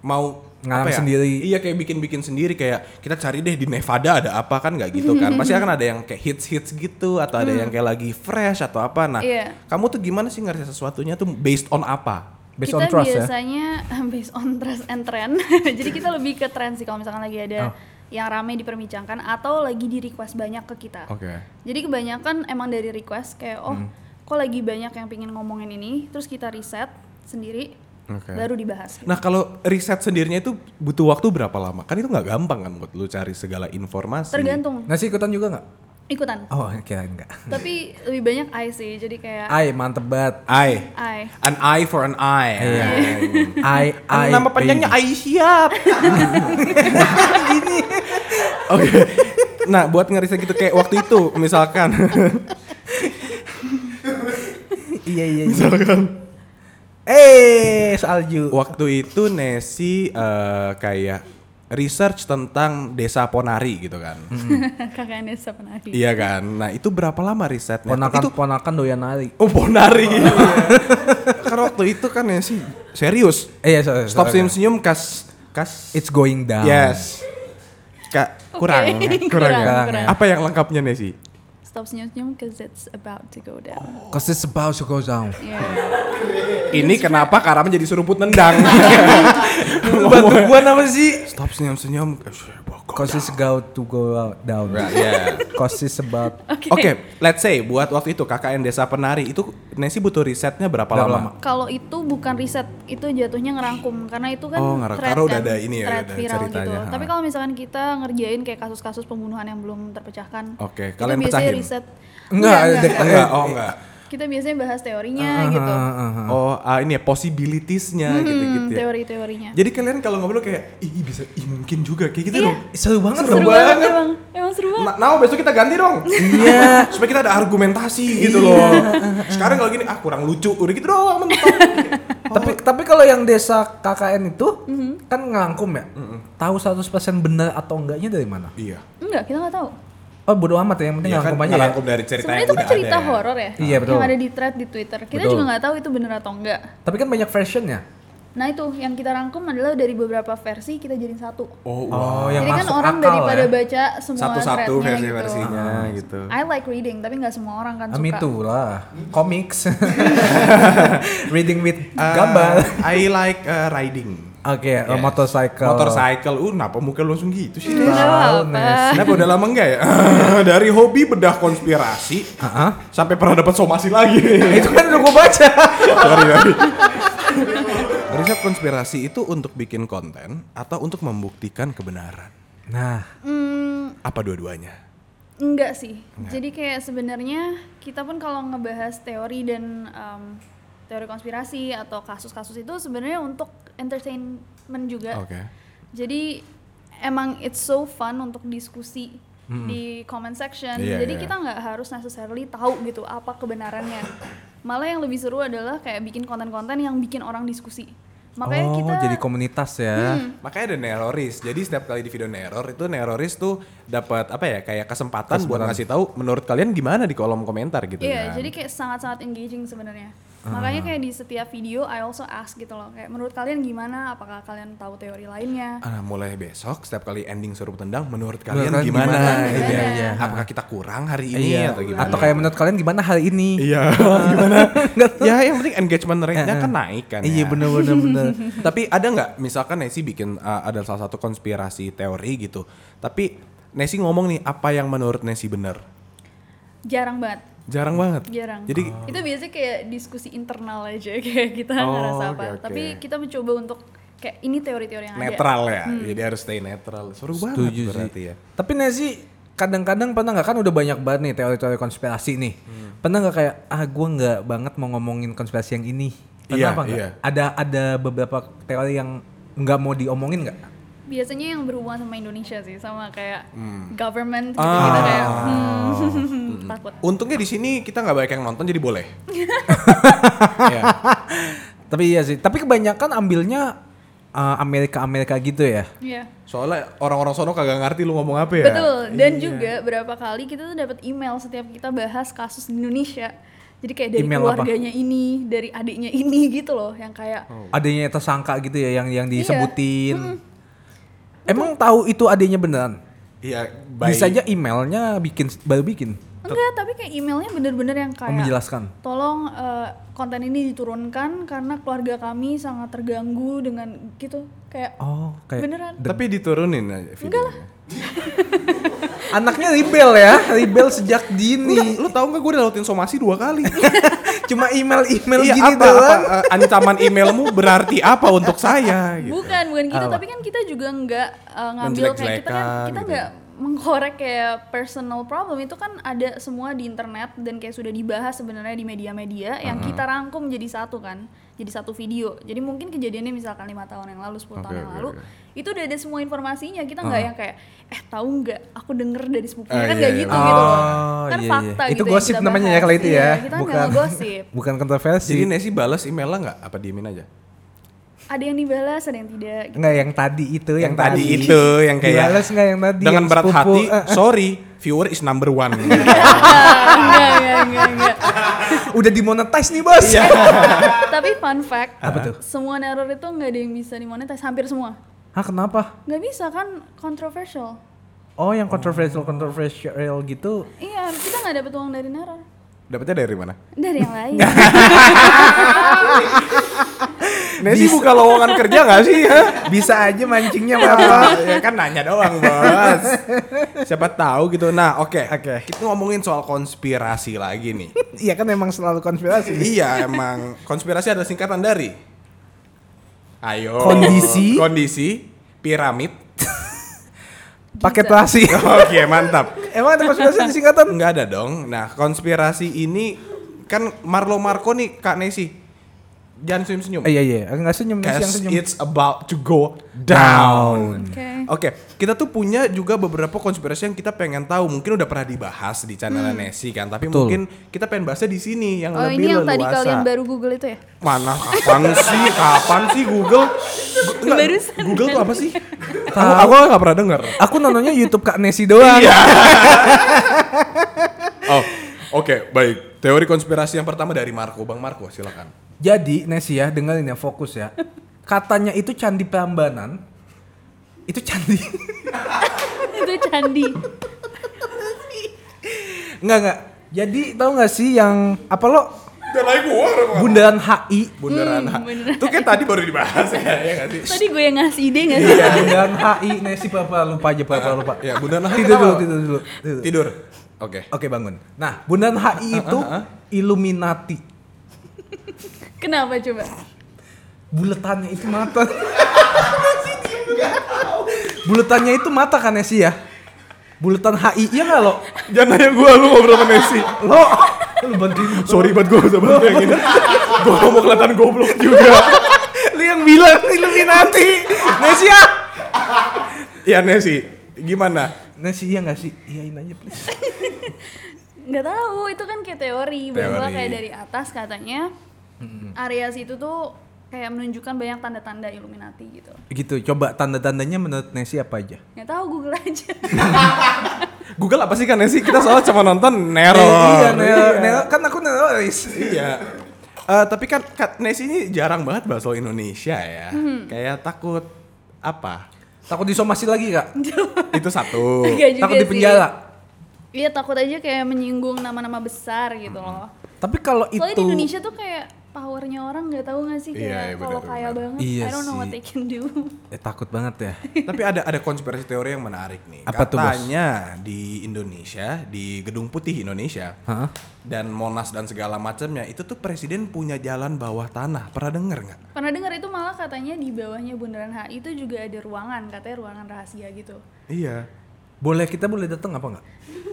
mau
Ngarang
ya?
sendiri.
Iya kayak bikin-bikin sendiri kayak kita cari deh di Nevada ada apa kan nggak gitu kan? Pasti akan ada yang kayak hits-hits gitu atau ada yang kayak lagi fresh atau apa. Nah,
Iya.
kamu tuh gimana sih ngeriset sesuatunya tuh based on apa?
Based on
kita
trust ya.
biasanya <laughs> based on trust and trend. <laughs> Jadi kita lebih ke trend sih kalau misalkan lagi
Oh.
ada yang rame diperbincangkan atau lagi di request banyak ke kita.
Oke.
Jadi kebanyakan emang dari request kayak oh
Hmm.
kok lagi banyak yang pingin ngomongin ini, terus kita riset sendiri,
Oke.
baru dibahas.
Nah kalau riset sendirinya itu butuh waktu berapa lama? Kan itu nggak gampang kan buat lu cari segala informasi.
Tergantung
Nasi ikutan juga nggak?
ikutan.
Oh kira enggak.
Tapi lebih banyak I sih, jadi kayak
Ai mantep banget.
Eye.
I. <laughs>
An eye for an eye. Nah,
Ai ai.
<laughs> Iya. Nama panjangnya
baby.
Ai siap. Gini. <laughs> Oke. Nah buat ngeriset gitu kayak waktu itu misalkan. <laughs>
Iya iya. iya.
misalkan.
Eh salju.
Waktu itu Nesi eh, kayak research tentang desa Ponari gitu kan.
Kakak Nesa penari.
Iya kan. Nah itu berapa lama risetnya?
Ponakan
Itu
ponakan doyan nari.
Oh Bonari. Karena waktu itu kan ya sih serius.
Eh, iya, sorry,
Stop
sorry.
senyum senyum kas kas.
It's going down.
Yes. Kak
<laughs>
<laughs> Kurang.
Oke,
Kurang ya?
kurang, kurang.
Apa yang lengkapnya Nesi?
Stop senyum-senyum cause it's about to go down.
Cause it's about to go down.
Yeah.
Ini kenapa Karama jadi suruput nendang?
Bantu gua apa sih?
Stop senyum-senyum.
Cause it's about to go out- down.
Right, yeah.
<laughs> Cause it's about
Oke.
Oh, Oke, let's say buat waktu itu KKN Desa Penari itu Nesi butuh risetnya berapa
Berapa
lama?
lama?
Kalau itu bukan riset, itu jatuhnya ngerangkum karena itu kan
Oh, ngerangkum.
thread
Karena udah
kan,
ada ini ya,
thread
udah
viral
ceritanya,
gitu.
ha.
Tapi kalau misalkan kita ngerjain kayak kasus-kasus pembunuhan yang belum terpecahkan,
Oke,
itu
kalian
biasanya
pecahin?
riset.
Enggak,
enggak,
dek-
Enggak, oh enggak.
Kita biasanya bahas teorinya gitu.
Oh, ah, ini ya possibilitiesnya gitu-gitu
Hmm,
ya.
teori-teorinya.
Jadi kalian kalau ngobrol kayak ih ih, bisa ih, mungkin juga kayak gitu
Iya.
dong.
seru banget dong.
Seru banget.
emang. Emang seru banget.
Nah, nah, besok kita ganti dong.
Iya.
<laughs> Supaya kita ada argumentasi gitu loh. Sekarang kalau gini ah kurang lucu udah gitu doang
<laughs>
mentok.
Tapi tapi kalau yang desa KKN itu
Mm-hmm.
kan ngelangkum ya. Tahu 100% benar atau enggaknya dari mana?
iya.
Enggak, kita nggak tahu.
Oh bodo amat ya, yang penting
Iya kan
ngelangkum aja. ya.
ngerangkum dari cerita
Sebenarnya itu
yang
kan
udah
cerita
ada.
horor ya.
Iya, betul.
Yang ada di thread di Twitter. Kita
Betul.
juga nggak tahu itu bener atau enggak.
Tapi kan banyak versionnya.
Nah, itu yang kita rangkum adalah dari beberapa versi kita jadiin satu.
Oh,
Oh, wow.
yang
Jadi kan
masuk
orang
akal
daripada
ya.
baca semua
satu-satu
threadnya gitu.
versi-versinya
Ah.
gitu.
I like reading, tapi nggak semua orang kan
Ami
suka.
lah,
<laughs>
comics, reading with gambar.
Uh, I like uh, riding.
Oke, eh,
Yes.
motorcycle.
Motorcycle. Uh, kenapa muka lu langsung gitu sih?
Nggak apa-apa.
Kenapa udah lama enggak ya? <laughs> Dari hobi bedah konspirasi
Heeh.
sampai pernah dapat somasi lagi.
<laughs> Itu kan udah gua baca.
sorry, sorry. Riset konspirasi itu untuk bikin konten atau untuk membuktikan kebenaran?
Nah,
Hmm,
Apa dua-duanya?
enggak sih. Jadi kayak sebenarnya kita pun kalau ngebahas teori dan em, teori konspirasi atau kasus-kasus itu sebenarnya untuk entertainment juga.
Oke.
Jadi emang it's so fun untuk diskusi di comment section.
Hmm. Iya,
Jadi
iya.
kita nggak harus necessarily tahu gitu apa kebenarannya. Malah yang lebih seru adalah kayak bikin konten-konten yang bikin orang diskusi. Makanya
oh
kita Hmm.
jadi komunitas ya.
Makanya ada neroris. Jadi setiap kali di video neror itu neroris tuh dapat apa ya kayak kesempatan, buat ngasih tahu menurut kalian gimana di kolom komentar gitu
Iya,
kan.
jadi kayak sangat-sangat engaging sebenarnya.
Ah.
Makanya kayak di setiap video I also ask gitu loh, kayak menurut kalian gimana? Apakah kalian tahu teori lainnya?
Ah, mulai besok setiap kali ending suruh tendang menurut kalian
kalian
gimana?
gimana?
gitu
Iya,
ya.
iya.
Apakah kita kurang hari ini atau gimana?
Eh, Atau kayak menurut kalian gimana hari ini? <laughs>
Iya. gimana? ya yang penting engagement rate-nya kan naik kan.
Iya
ya.
bener bener bener.
Mhm.
Tapi ada nggak misalkan Nesi bikin uh, ada salah satu konspirasi teori gitu. Tapi Nesi ngomong nih apa yang menurut Nesi bener.
Jarang banget,
Jarang banget.
jarang. Oh,
Jadi
itu biasanya kayak diskusi internal aja <laughs> kayak kita
Oh,
ngerasa apa.
oke, oke.
Tapi kita mencoba untuk kayak ini teori-teori yang ada.
netral ya. Jadi harus stay netral. Seru
<laughs>
banget
Setuju sih.
berarti ya.
Tapi Nezi kadang-kadang pernah nggak kan udah banyak banget nih teori-teori konspirasi nih. Pernah nggak kayak ah gua nggak banget mau ngomongin konspirasi yang ini. Pernah
Iya,
apa nggak?
iya.
Ada ada beberapa teori yang nggak mau diomongin nggak?
Biasanya yang berhubungan sama Indonesia sih, sama kayak government gitu kita kayak <laughs> hmm, takut.
Untungnya di sini kita nggak banyak yang nonton jadi
<laughs>
boleh. ya.
Tapi iya sih. Tapi kebanyakan ambilnya uh, Amerika-Amerika gitu ya.
Iya.
Soalnya orang-orang sono kagak ngerti lu ngomong apa ya.
Betul. Dan juga berapa kali kita tuh dapat email setiap kita bahas kasus di Indonesia. Jadi kayak dari
Email apa?
keluarganya ini, dari adiknya ini gitu loh, yang kayak
Oh. Adanya tersangka gitu ya yang yang
Iya.
disebutin. Emang tahu itu adanya beneran?
Iya, baik.
Bisa aja emailnya bikin baru bikin.
enggak, tapi kayak emailnya bener-bener yang kayak
Oh, menjelaskan.
Tolong eh, konten ini diturunkan karena keluarga kami sangat terganggu dengan gitu kayak
Oh, kayak
beneran.
Tapi diturunin aja videonya.
anaknya rebel ya, rebel sejak dini.
Enggak, lu tau gak gue udah lautin somasi dua
<laughs>
kali.
Cuma email-email
iya,
gini
apa,
doang.
apa, eh, ancaman emailmu berarti apa untuk saya? Gitu.
Bukan, bukan gitu, tapi kan kita juga nggak eh, ngambil kayak kita kan
Menjelek-jelekan
kita
gitu.
nggak mengkorek kayak personal problem itu kan ada semua di internet dan kayak sudah dibahas sebenarnya di media-media yang kita rangkum jadi satu kan jadi satu video jadi mungkin kejadiannya misalkan lima tahun yang lalu 10 tahun
Oke,
yang
oke,
lalu
oke.
itu udah ada semua informasinya kita nggak yang kayak eh tahu nggak aku denger dari sepupunya kan
Eh, iya,
nggak
iya,
gitu
bener.
gitu loh
Oh,
kan
iya, iya.
fakta
Itu
gitu yang
gosip
kita
namanya ya
bahas.
kalau itu ya,
Iya, kita bukan
bukan-
gosip
Bukan kontroversi.
Jadi Nesi balas emailnya nggak? Apa diemin aja?
ada yang dibalas ada yang tidak gitu.
Enggak yang tadi itu, yang,
Yang tadi itu, yang kayak-
Dibales nggak yang tadi?
Dengan
yang
berat
sepupu,
hati,
eh, eh.
sorry, viewer is number one.
<laughs>
enggak enggak enggak enggak
udah dimonetize nih, Bos.
Iya.
Tapi fun fact,
Apa tuh?
semua neror itu nggak ada yang bisa dimonetize, hampir semua.
Hah, kenapa?
Nggak bisa kan kontroversial.
Oh, yang kontroversial kontroversial gitu.
Iya, kita nggak dapet uang dari neror.
Dapatnya dari mana?
Dari yang lain.
Nesi buka lowongan kerja gak
<laughs>
sih? Ya?
Bisa aja mancingnya Bapak.
Apa? ya kan nanya doang bos. Siapa tahu gitu. Nah oke.
Oke.
Kita ngomongin soal konspirasi lagi nih.
Iya kan emang selalu konspirasi.
iya emang konspirasi ada singkatan dari. Ayo.
Kondisi.
Kondisi. Piramid. <laughs>
Paket terasi.
Oke mantap.
emang ada konspirasi di singkatan?
Nggak ada dong. Nah konspirasi ini kan Marlo Marco nih Kak Nesi. Jangan senyum-senyum.
Eh, Iya iya, enggak senyum Nasi yang
Cause
senyum.
it's about to go
<laughs>
down.
Oke.
Oke, kita tuh punya juga beberapa konspirasi yang kita pengen tahu. Mungkin udah pernah dibahas di channel Nesi kan, tapi
Betul.
mungkin kita pengen bahasnya di sini yang
oh
lebih
ini yang
leluasa.
tadi kalian baru Google <laughs> itu ya?
Mana kapan sih? Kapan sih Google? Gu- enggak,
Barusan
Google tuh apa sih? aku aku nggak pernah denger.
Aku nontonnya YouTube Kak Nesi doang.
Iya. Oh, oke, baik. Teori konspirasi yang pertama dari Marco, Bang Marco, silakan.
Jadi Nesi ya, dengerin ya fokus ya. Katanya itu candi Prambanan. Itu candi. <laughs>
itu <laughs> candi.
Enggak enggak. Jadi tahu nggak sih yang apa lo
Dan lagi gua
bundaran HI?
Bundaran.
Hmm, beneran.
Itu kayak tadi baru dibahas ya, ya nggak sih?
Tadi gue yang ngasih ide nggak sih?
Iya, bundaran HI Nesi papa lupa aja papa lupa.
Ya, bundaran HI
Tidur dulu,
kenapa?
tidur dulu. Tidur.
Tidur. Oke.
Oke, bangun. Nah, bundaran HI itu Illuminati.
Kenapa coba?
Buletannya itu <laughs> mata. Buletannya itu mata kan Nesi ya? Buletan HI ya nggak lo?
Jangan nanya gue, lu ngobrol sama Messi.
Lo lu bantuin gua.
Sorry banget gue bisa bantu yang ini. Gue mau kelihatan goblok juga.
lu yang bilang Illuminati. Nesi ya?
ya Messi, gimana?
Nesi iya nggak sih? Iyain aja please.
Nggak tahu, itu kan kayak teori, bahwa
Teori.
kayak dari atas katanya area situ tuh kayak menunjukkan banyak tanda-tanda Illuminati gitu.
Gitu, coba tanda-tandanya menurut Nesi apa aja?
Nggak tahu Google aja.
Google apa sih kan Messi? Kita soalnya cuma nonton Nero.
iya, Nel, Nel, kan aku Neloris.
Iya. Eh, tapi kan Kak Nesi ini jarang banget bahas soal Indonesia ya. Kayak takut apa?
Takut disomasi lagi, Kak?
Itu <laughs>
<laughs>
satu.
Nggak juga
Takut di
sih.
penjara.
Iya takut aja kayak menyinggung nama-nama besar gitu loh.
Tapi kalau itu
Soalnya di Indonesia tuh kayak powernya orang nggak tahu nggak sih
Iya,
kayak
iya,
kalau
benar,
kaya
benar.
banget,
Iya
I don't know what
sih.
they can do. <laughs>
eh, takut banget ya.
Tapi ada ada konspirasi teori yang menarik nih.
Apa tuh, Bos?
Katanya di Indonesia, di Gedung Putih Indonesia,
Hah?
dan Monas dan segala macamnya itu tuh presiden punya jalan bawah tanah. Pernah denger nggak?
Pernah dengar itu malah katanya di bawahnya Bundaran HI itu juga ada ruangan, katanya ruangan rahasia gitu.
Iya.
Boleh kita boleh datang apa enggak?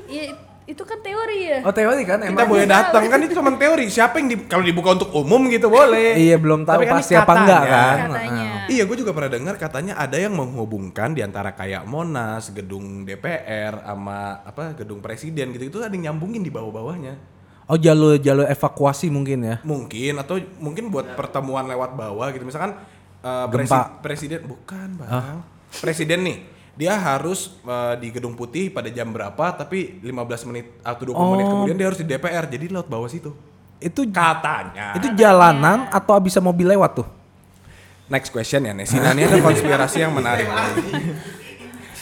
Iya, itu kan teori ya.
Oh, teori kan
Kita
emang.
boleh datang kan itu cuma teori. Siapa yang di- kalau dibuka untuk umum gitu boleh.
Iya, belum tahu
Tapi kan ini
pasti apa enggak
katanya.
kan.
Katanya.
Iya, gue juga pernah dengar katanya ada yang menghubungkan di antara kayak Monas, gedung DPR, sama apa gedung presiden gitu itu ada yang nyambungin di bawah-bawahnya.
Oh, jalur-jalur evakuasi mungkin ya.
Mungkin atau mungkin buat pertemuan lewat bawah gitu. Misalkan eh, presi-
Gempa.
presiden bukan, Bang. Presiden nih, dia harus eh, di Gedung Putih pada jam berapa tapi 15 menit atau 20 menit kemudian dia harus di DPR. Jadi lewat bawah situ.
Itu
Katanya.
itu jalanan atau bisa mobil lewat tuh?
next question ya Nesi. Nah, ini ada konspirasi yang menarik.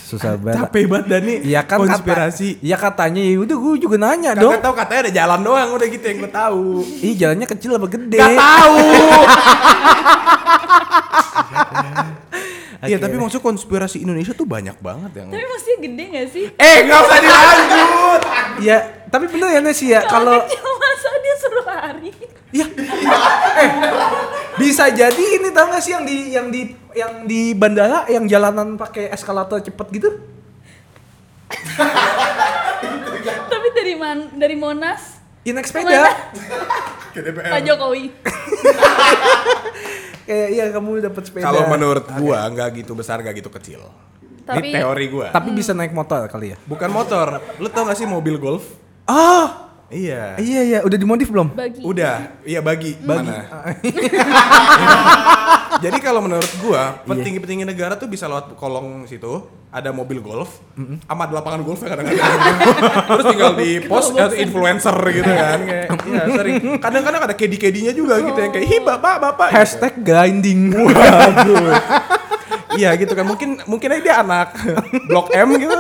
Susah banget.
Capek banget Dani.
Iya kan kata-
konspirasi.
Iya katanya, ya udah gue juga nanya dong.
Kagak tahu katanya ada jalan doang udah gitu yang gue tahu.
Ih, jalannya kecil apa gede?
Gak tahu. Iya tapi maksud konspirasi Indonesia tuh banyak banget yang.
Tapi maksudnya gede gak sih?
Eh nggak usah dilanjut.
Ya, tapi bener ya Nesi ya kalau
Kalau kecil masa dia suruh lari. <laughs>
ya eh bisa jadi ini tau gak sih yang di yang di yang di bandara yang jalanan pakai eskalator cepet gitu?
Tapi dari man, dari Monas
Ya naik
Kemana?
sepeda.
Pak Jokowi.
Kayak iya kamu dapat sepeda.
Kalau menurut gua nggak gitu besar nggak gitu kecil.
Tapi-
Ini teori gua.
tapi bisa naik motor kali ya.
Bukan motor. Lu tau gak sih mobil golf?
Ah,
Iya.
iya iya udah dimodif belum?
Bagi.
Udah. Iya bagi. Bagi. Mana? <laughs> Jadi kalau menurut gua,
Iya.
petinggi-petinggi negara tuh bisa lewat kolong situ, ada mobil golf,
Hmm.
sama ada lapangan golf yang kadang-kadang. <laughs> Terus tinggal di post eh, influencer gitu kan. Kayak, iya, sering. Kadang-kadang ada kedi-kedinya juga gitu yang kayak, hi bapak, bapak.
Hashtag
<laughs>
grinding.
Iya gitu kan mungkin mungkin aja dia anak <laughs> Blok M
<laughs>
gitu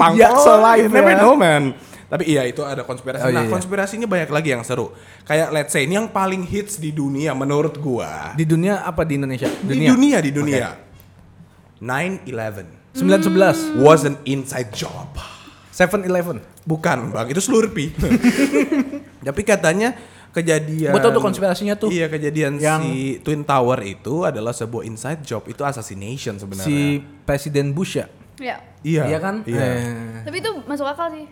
pangkal
Jaksel live
never
ya.
know man tapi iya itu ada
Oh,
konspirasi
iya,
nah
iya.
konspirasinya banyak lagi yang seru kayak let's say ini yang paling hits di dunia menurut gua
Di dunia apa di Indonesia?
di dunia di dunia 9/11
911,
was an inside job
711.
bukan bang itu
<laughs>
slurpi tapi katanya kejadian
Gua tau tuh konspirasinya tuh.
iya kejadian
Yang-
si twin tower itu adalah sebuah inside job itu assassination sebenarnya
Si Presiden Bush ya.
ya
iya
Iya kan?
iya
Eh.
tapi itu masuk akal sih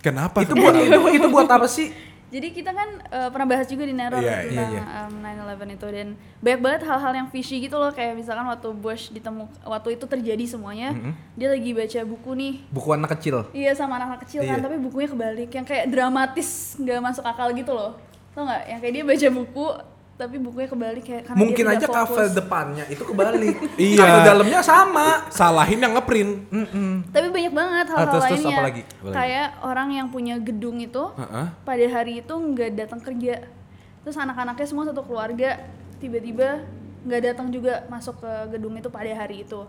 Kenapa?
Itu buat itu, itu buat apa sih?
jadi kita kan eh, pernah bahas juga di Neror ya,
Iya,
iya,
tentang
iya.
em, 9/11 itu dan banyak banget hal-hal yang fishy gitu loh kayak misalkan waktu Bush ditemu waktu itu terjadi semuanya
Mm-hmm.
dia lagi baca buku nih
Buku anak kecil.
Iya sama anak kecil kan,
Iya.
tapi bukunya kebalik yang kayak dramatis nggak masuk akal gitu loh. Tau nggak? Yang kayak dia baca buku tapi bukunya kebalik kayak karena
Mungkin
dia
aja
tidak
cover
fokus.
depannya itu
<laughs>
kebalik.
Iya.
Cover dalamnya sama.
Salahin yang ngeprint.
Tapi banyak banget hal-hal
Ah,
terus- terus
lainnya.
apa lagi? Apa lagi?
Kayak orang yang punya gedung itu
Heeh.
pada hari itu nggak datang kerja. Terus anak-anaknya semua satu keluarga tiba-tiba nggak datang juga masuk ke gedung itu pada hari itu.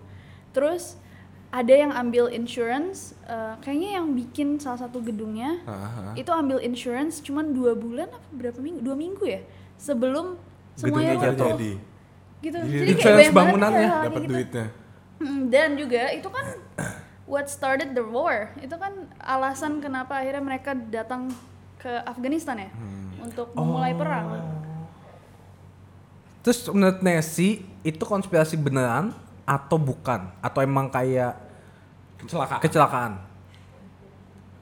Terus ada yang ambil insurance, eh, kayaknya yang bikin salah satu gedungnya
Heeh.
itu ambil insurance cuman dua bulan apa berapa minggu dua minggu ya sebelum semuanya
Gedungnya
runtuh.
jatuh. Jadi.
gitu jadi,
Jadi
kayak
insurance
banyak banget
bangunannya
hal-hal
ya, Dapat
kayak gitu.
duitnya.
Mm, dan juga itu kan what started the war itu kan alasan kenapa akhirnya mereka datang ke Afghanistan ya
Hmm.
untuk
Oh.
memulai perang
Terus menurut Nessie itu konspirasi beneran atau bukan? Atau emang kayak
Kecelakaan.
kecelakaan?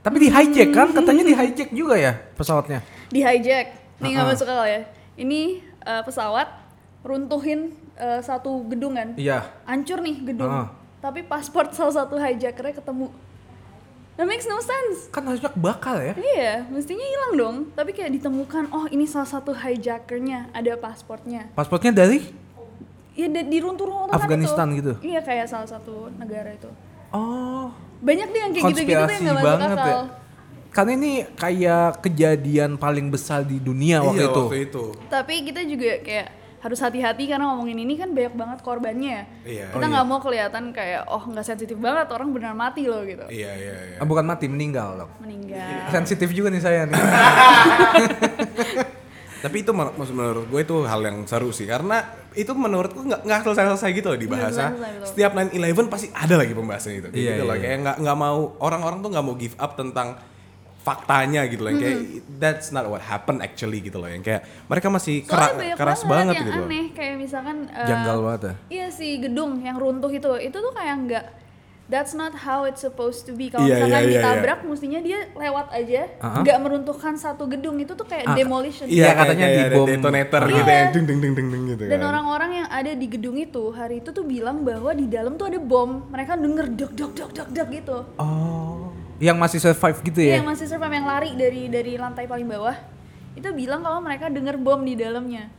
Tapi di hijack kan? Katanya di hijack juga ya pesawatnya.
di hijack ini nggak
Ha-ha.
masuk akal ya ini uh, pesawat runtuhin uh, satu gedung kan
Iya.
hancur nih gedung
Ah.
tapi paspor <laughs> salah satu hijackernya ketemu that makes no sense
Kan harusnya bakal ya.
iya mestinya hilang dong tapi kayak ditemukan oh ini salah satu hijackernya ada pasportnya
Pasportnya dari?
ya di, di runtuh-runtuhan
Afghanistan
itu.
gitu?
iya kayak salah satu negara itu
Oh.
banyak deh yang kayak gitu-gitu tuh
konspirasi
yang gak masuk
banget
akal
ya. Karena ini kayak kejadian paling besar di dunia waktu
Iya,
itu.
waktu itu.
tapi kita juga kayak harus hati-hati karena ngomongin ini kan banyak banget korbannya
Iya.
kita nggak mau kelihatan kayak oh nggak sensitif banget orang benar mati loh gitu
Iya, iya, iya.
Ah, bukan mati, meninggal dong.
meninggal
Sensitif juga nih saya
<laughs>
nih.
Tapi itu men- maksud- menurut gue itu hal yang seru sih karena itu menurut gue nggak nggak selesai-selesai gitu loh dibahas.
Iya,
ya.
selesai, betul.
Setiap 9/11 pasti ada lagi pembahasan itu. Kayak
Iya,
gitu
iya,
loh.
iya.
Kayak nggak nggak mau orang-orang tuh nggak mau give up tentang faktanya gitu loh. Yang Kayak
Mm-hmm.
that's not what happened actually gitu loh. Yang kayak mereka masih
Soalnya
Iya. kera-
banyak
keras
banget,
banget,
yang
gitu. loh.
aneh kayak misalkan eh,
Janggal banget ya.
iya si gedung yang runtuh itu itu tuh kayak nggak that's not how it's supposed to be kalau
Iya,
misalkan
iya, Uh-huh. iya,
ditabrak mestinya dia lewat aja
Aha.
nggak meruntuhkan satu gedung itu tuh kayak
Ah,
demolition
Iya,
kayak-
katanya
kayak ada
dibom.
detonator
Iya.
gitu ya. Ding ding ding ding ding gitu
dan
kan.
orang-orang yang ada di gedung itu hari itu tuh bilang bahwa di dalam tuh ada bom mereka denger dok dok dok dok dok gitu
Oh, yang masih survive gitu
Iya,
ya?
yang masih survive yang lari dari dari lantai paling bawah itu bilang kalau mereka denger bom di dalamnya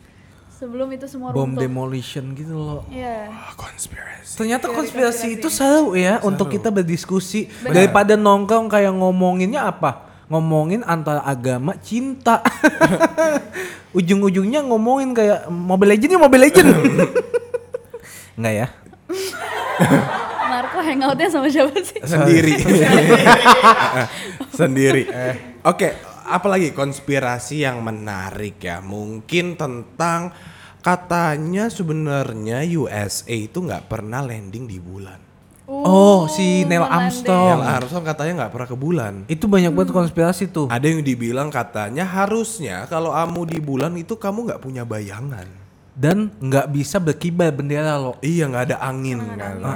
sebelum itu semua
Bom
runtuh
demolition gitu loh.
Iya.
Wah, conspiracy.
<laughs> Ternyata konspirasi itu Iya, seru ya untuk kita berdiskusi daripada nongkrong kayak ngomonginnya apa? Ngomongin antara agama, <laughs> cinta. Ujung-ujungnya ngomongin kayak Mobile Legends ya Mobile <laughs> Legends. Enggak ya?
Marco hangoutnya sama siapa sih?
sendiri <laughs> sendiri oke apalagi konspirasi yang menarik ya mungkin tentang katanya sebenarnya USA itu nggak pernah landing di bulan
Uh,
Oh, si Neil
Finlandia.
Armstrong.
yang Armstrong katanya nggak pernah ke bulan
Itu banyak banget konspirasi tuh.
ada yang dibilang katanya harusnya kalau kamu di bulan itu kamu nggak punya bayangan
Dan nggak bisa berkibar bendera loh.
iya nggak ada angin katanya.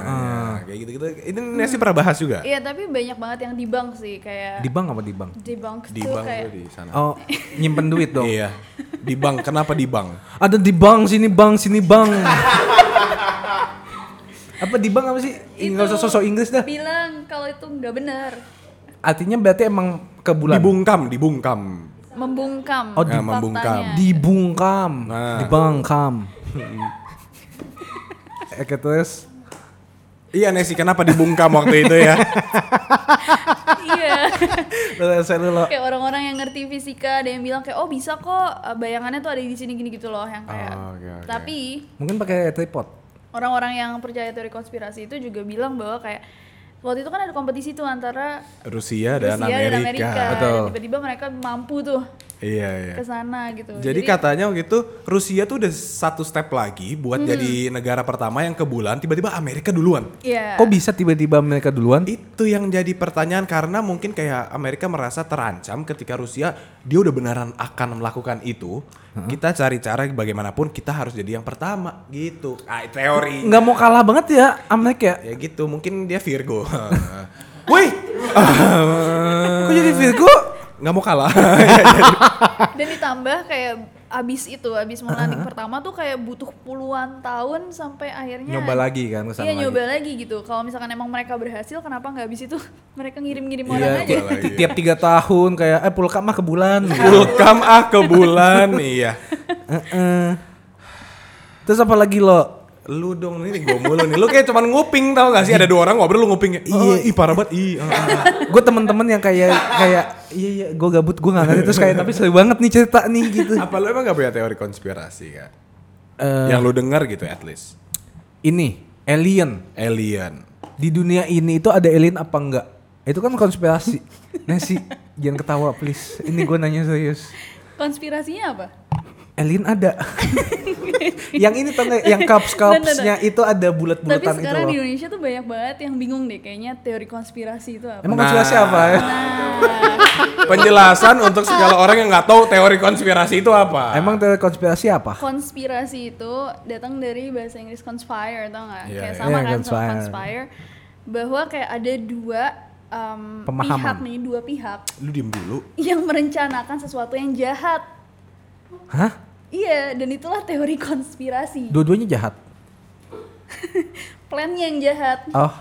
kayak gitu gitu ini Nesi pernah bahas juga
Iya, tapi banyak banget yang dibang sih
Di
kayak
bank apa di bank?
debunk
di
tuh
bank
kayak
di sana
Oh, nyimpen duit dong.
iya di bank kenapa di bank
Ada di bank sini bank sini <laughs> bank. apa di bank apa sih? Enggak usah sosok Inggris dah.
bilang kalau itu nggak benar,
Artinya berarti emang ke bulan.
dibungkam dibungkam
membungkam.
Oh, di-
faktanya.
membungkam.
Dibungkam,
Nah.
dibangkam. <laughs> Eke terus
Iya Nesi, kenapa dibungkam waktu itu ya?
iya
terus saya dulu.
kayak orang-orang yang ngerti fisika ada yang bilang kayak oh bisa kok eh, bayangannya tuh ada di sini gini gitu loh yang kayak
Oh, oke, oke.
tapi
Mungkin pakai tripod.
orang-orang yang percaya teori konspirasi itu juga bilang bahwa kayak waktu itu kan ada kompetisi tuh antara
Rusia dan
Rusia
Amerika.
dan Amerika
Betul.
Dan tiba-tiba mereka mampu tuh
Iya, iya.
ke sana gitu
Jadi katanya waktu itu Rusia tuh udah satu step lagi buat jadi negara pertama yang ke bulan, tiba-tiba Amerika duluan.
Iya.
Kok bisa tiba-tiba mereka duluan?
Itu yang jadi pertanyaan karena mungkin kayak Amerika merasa terancam ketika Rusia dia udah beneran akan melakukan itu. Kita cari cara bagaimanapun kita harus jadi yang pertama gitu. Ah, teori.
Nggak mau kalah banget ya Amerika.
Ya gitu, mungkin dia Virgo. Woi,
Kok jadi Virgo?
nggak mau kalah.
Dan ditambah kayak abis itu, abis melantik pertama tuh kayak butuh puluhan tahun sampai akhirnya
Nyoba lagi kan kesana
Iya
lagi.
nyoba lagi gitu. Kalau misalkan emang mereka berhasil, kenapa nggak abis itu <laughs> mereka ngirim-ngirim orang
Iya,
aja?
coba. lagi.
tiap tiga tahun kayak eh pulkam mah ke
<laughs>
bulan.
Kulkam ah ke bulan, iya.
Heeh. Terus apa lagi lo?
Lu dong ini gue mulu nih. Lu kayak cuman nguping tau gak sih ada dua orang ngobrol lu nguping. Iya, ih parah banget. Ih, ah, ah.
Gue temen-temen yang kayak kayak iya iya gue gabut gue nggak ngerti terus kayak tapi seru banget nih cerita nih gitu.
ah." Apa lu emang gak punya teori konspirasi kak?
Eh,
Yang lu dengar gitu at least.
ini alien
Alien.
di dunia ini itu ada alien apa enggak? Itu kan
<laughs>
konspirasi. Nasi jangan ketawa please. Ini gue nanya serius.
Konspirasinya apa?
Alien
<laughs>
ada. yang ini tau gak? Yang cups-cupsnya itu ada
Tapi
bulat-bulatan itu
sekarang di
loh.
Indonesia tuh banyak banget yang bingung deh kayaknya teori konspirasi itu apa.
Emang
Nah.
konspirasi apa ya?
Penjelasan untuk segala orang yang nggak tahu teori konspirasi itu apa.
Emang teori konspirasi apa?
konspirasi itu datang dari bahasa Inggris conspire tau nggak
Iya,
kayak
iya.
sama
Iya,
kan sama
conspire.
conspire bahwa kayak ada dua um,
Pemahaman.
pihak nih dua pihak
Lu diem dulu.
yang merencanakan sesuatu yang jahat
Hah?
iya dan itulah teori konspirasi
Dua-duanya jahat.
plannya yang jahat
Oh,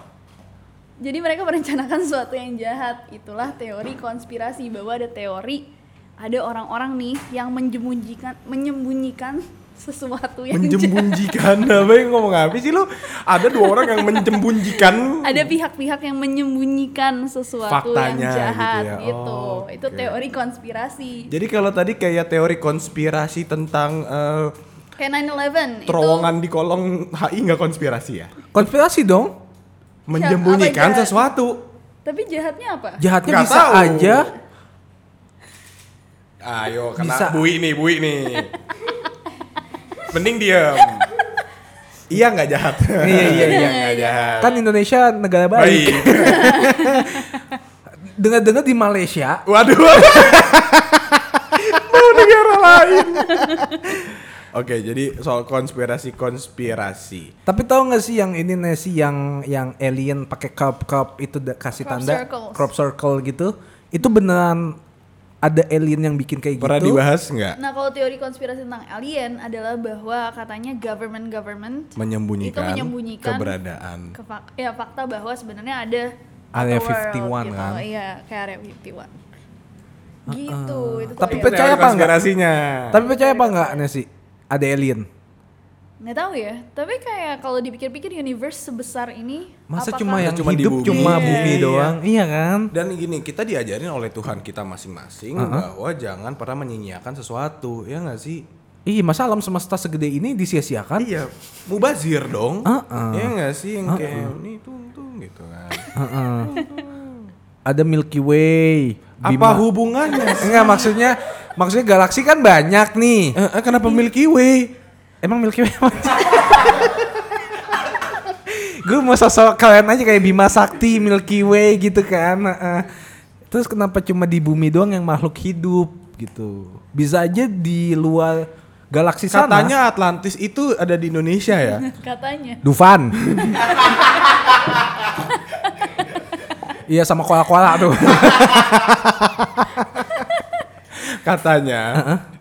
jadi mereka merencanakan <laughs> sesuatu yang jahat itulah teori konspirasi bahwa ada teori ada orang-orang nih yang menjembunjikan menyembunyikan sesuatu yang jahat
Menjembunjikan <laughs> apa yang ngomong apa sih lu? Ada dua orang yang menjembunjikan.
ada pihak-pihak yang menyembunyikan sesuatu
Faktanya
yang jahat
gitu
gitu.
ya. Oh,
Itu
oke.
teori konspirasi.
Jadi kalau tadi kayak teori konspirasi tentang eh,
Kayak 9/11 itu
terowongan di kolong HI nggak konspirasi ya?
konspirasi dong.
Menyembunyikan
apa, Jack?
sesuatu.
tapi jahatnya apa?
Jahatnya
Nggak
bisa
tahu.
aja.
Ayo, kena
Bisa.
bui nih, bui nih. Mending diem. iya nggak jahat.
Iya, iya, iya.
nggak jahat.
Kan Indonesia negara baik.
Baik.
Dengar-dengar di Malaysia
Waduh. <laughs> Mau negara lain. Oke, jadi soal konspirasi-konspirasi.
Tapi tahu nggak sih yang ini Nesi yang yang alien pakai cup cup itu da- kasih
Crop
tanda
circles.
crop circle gitu. Itu beneran ada alien yang bikin kayak
Pernah
gitu.
dibahas nggak?
Nah, kalau teori konspirasi tentang alien adalah bahwa katanya government-government
Menyembunyikan,
Itu menyembunyikan
keberadaan.
ke fak- ya fakta bahwa sebenarnya ada
Area
other
51
world gitu.
kan?
Iya, kayak area 51. Gitu, itu
Tapi
teori.
percaya apa
Teori
nggak?
konspirasinya.
Tapi percaya apa nggak Nesi? Ada alien.
nggak tahu ya. Tapi kayak kalau dipikir-pikir universe sebesar ini
Masa
apakah-
cuma yang
Cuma di
hidup
bumi.
cuma
kan? Iya,
bumi
iya.
doang? Iya kan?
Dan gini, kita diajarin oleh Tuhan kita masing-masing bahwa jangan pernah menyia-nyiakan sesuatu, ya nggak sih?
Ih, masa alam semesta segede ini disia-siakan?
Iya, mubazir dong.
Heeh.
Ya nggak sih yang kayak ini tung-tung gitu kan.
Heeh. Ada Milky Way.
Apa <laughs> hubungannya?
Enggak maksudnya maksudnya galaksi kan banyak nih.
Eh, eh, kenapa Milky Way?
Emang Milky Way <laughs> apa? gue mau sosok kalian aja kayak Bima Sakti, Milky Way gitu kan. Heeh. Terus kenapa cuma di bumi doang yang makhluk hidup gitu? Bisa aja di luar galaksi sana.
Katanya Atlantis itu ada di Indonesia <laughs> ya.
katanya
Dufan. Iya sama koala-koala tuh.
Katanya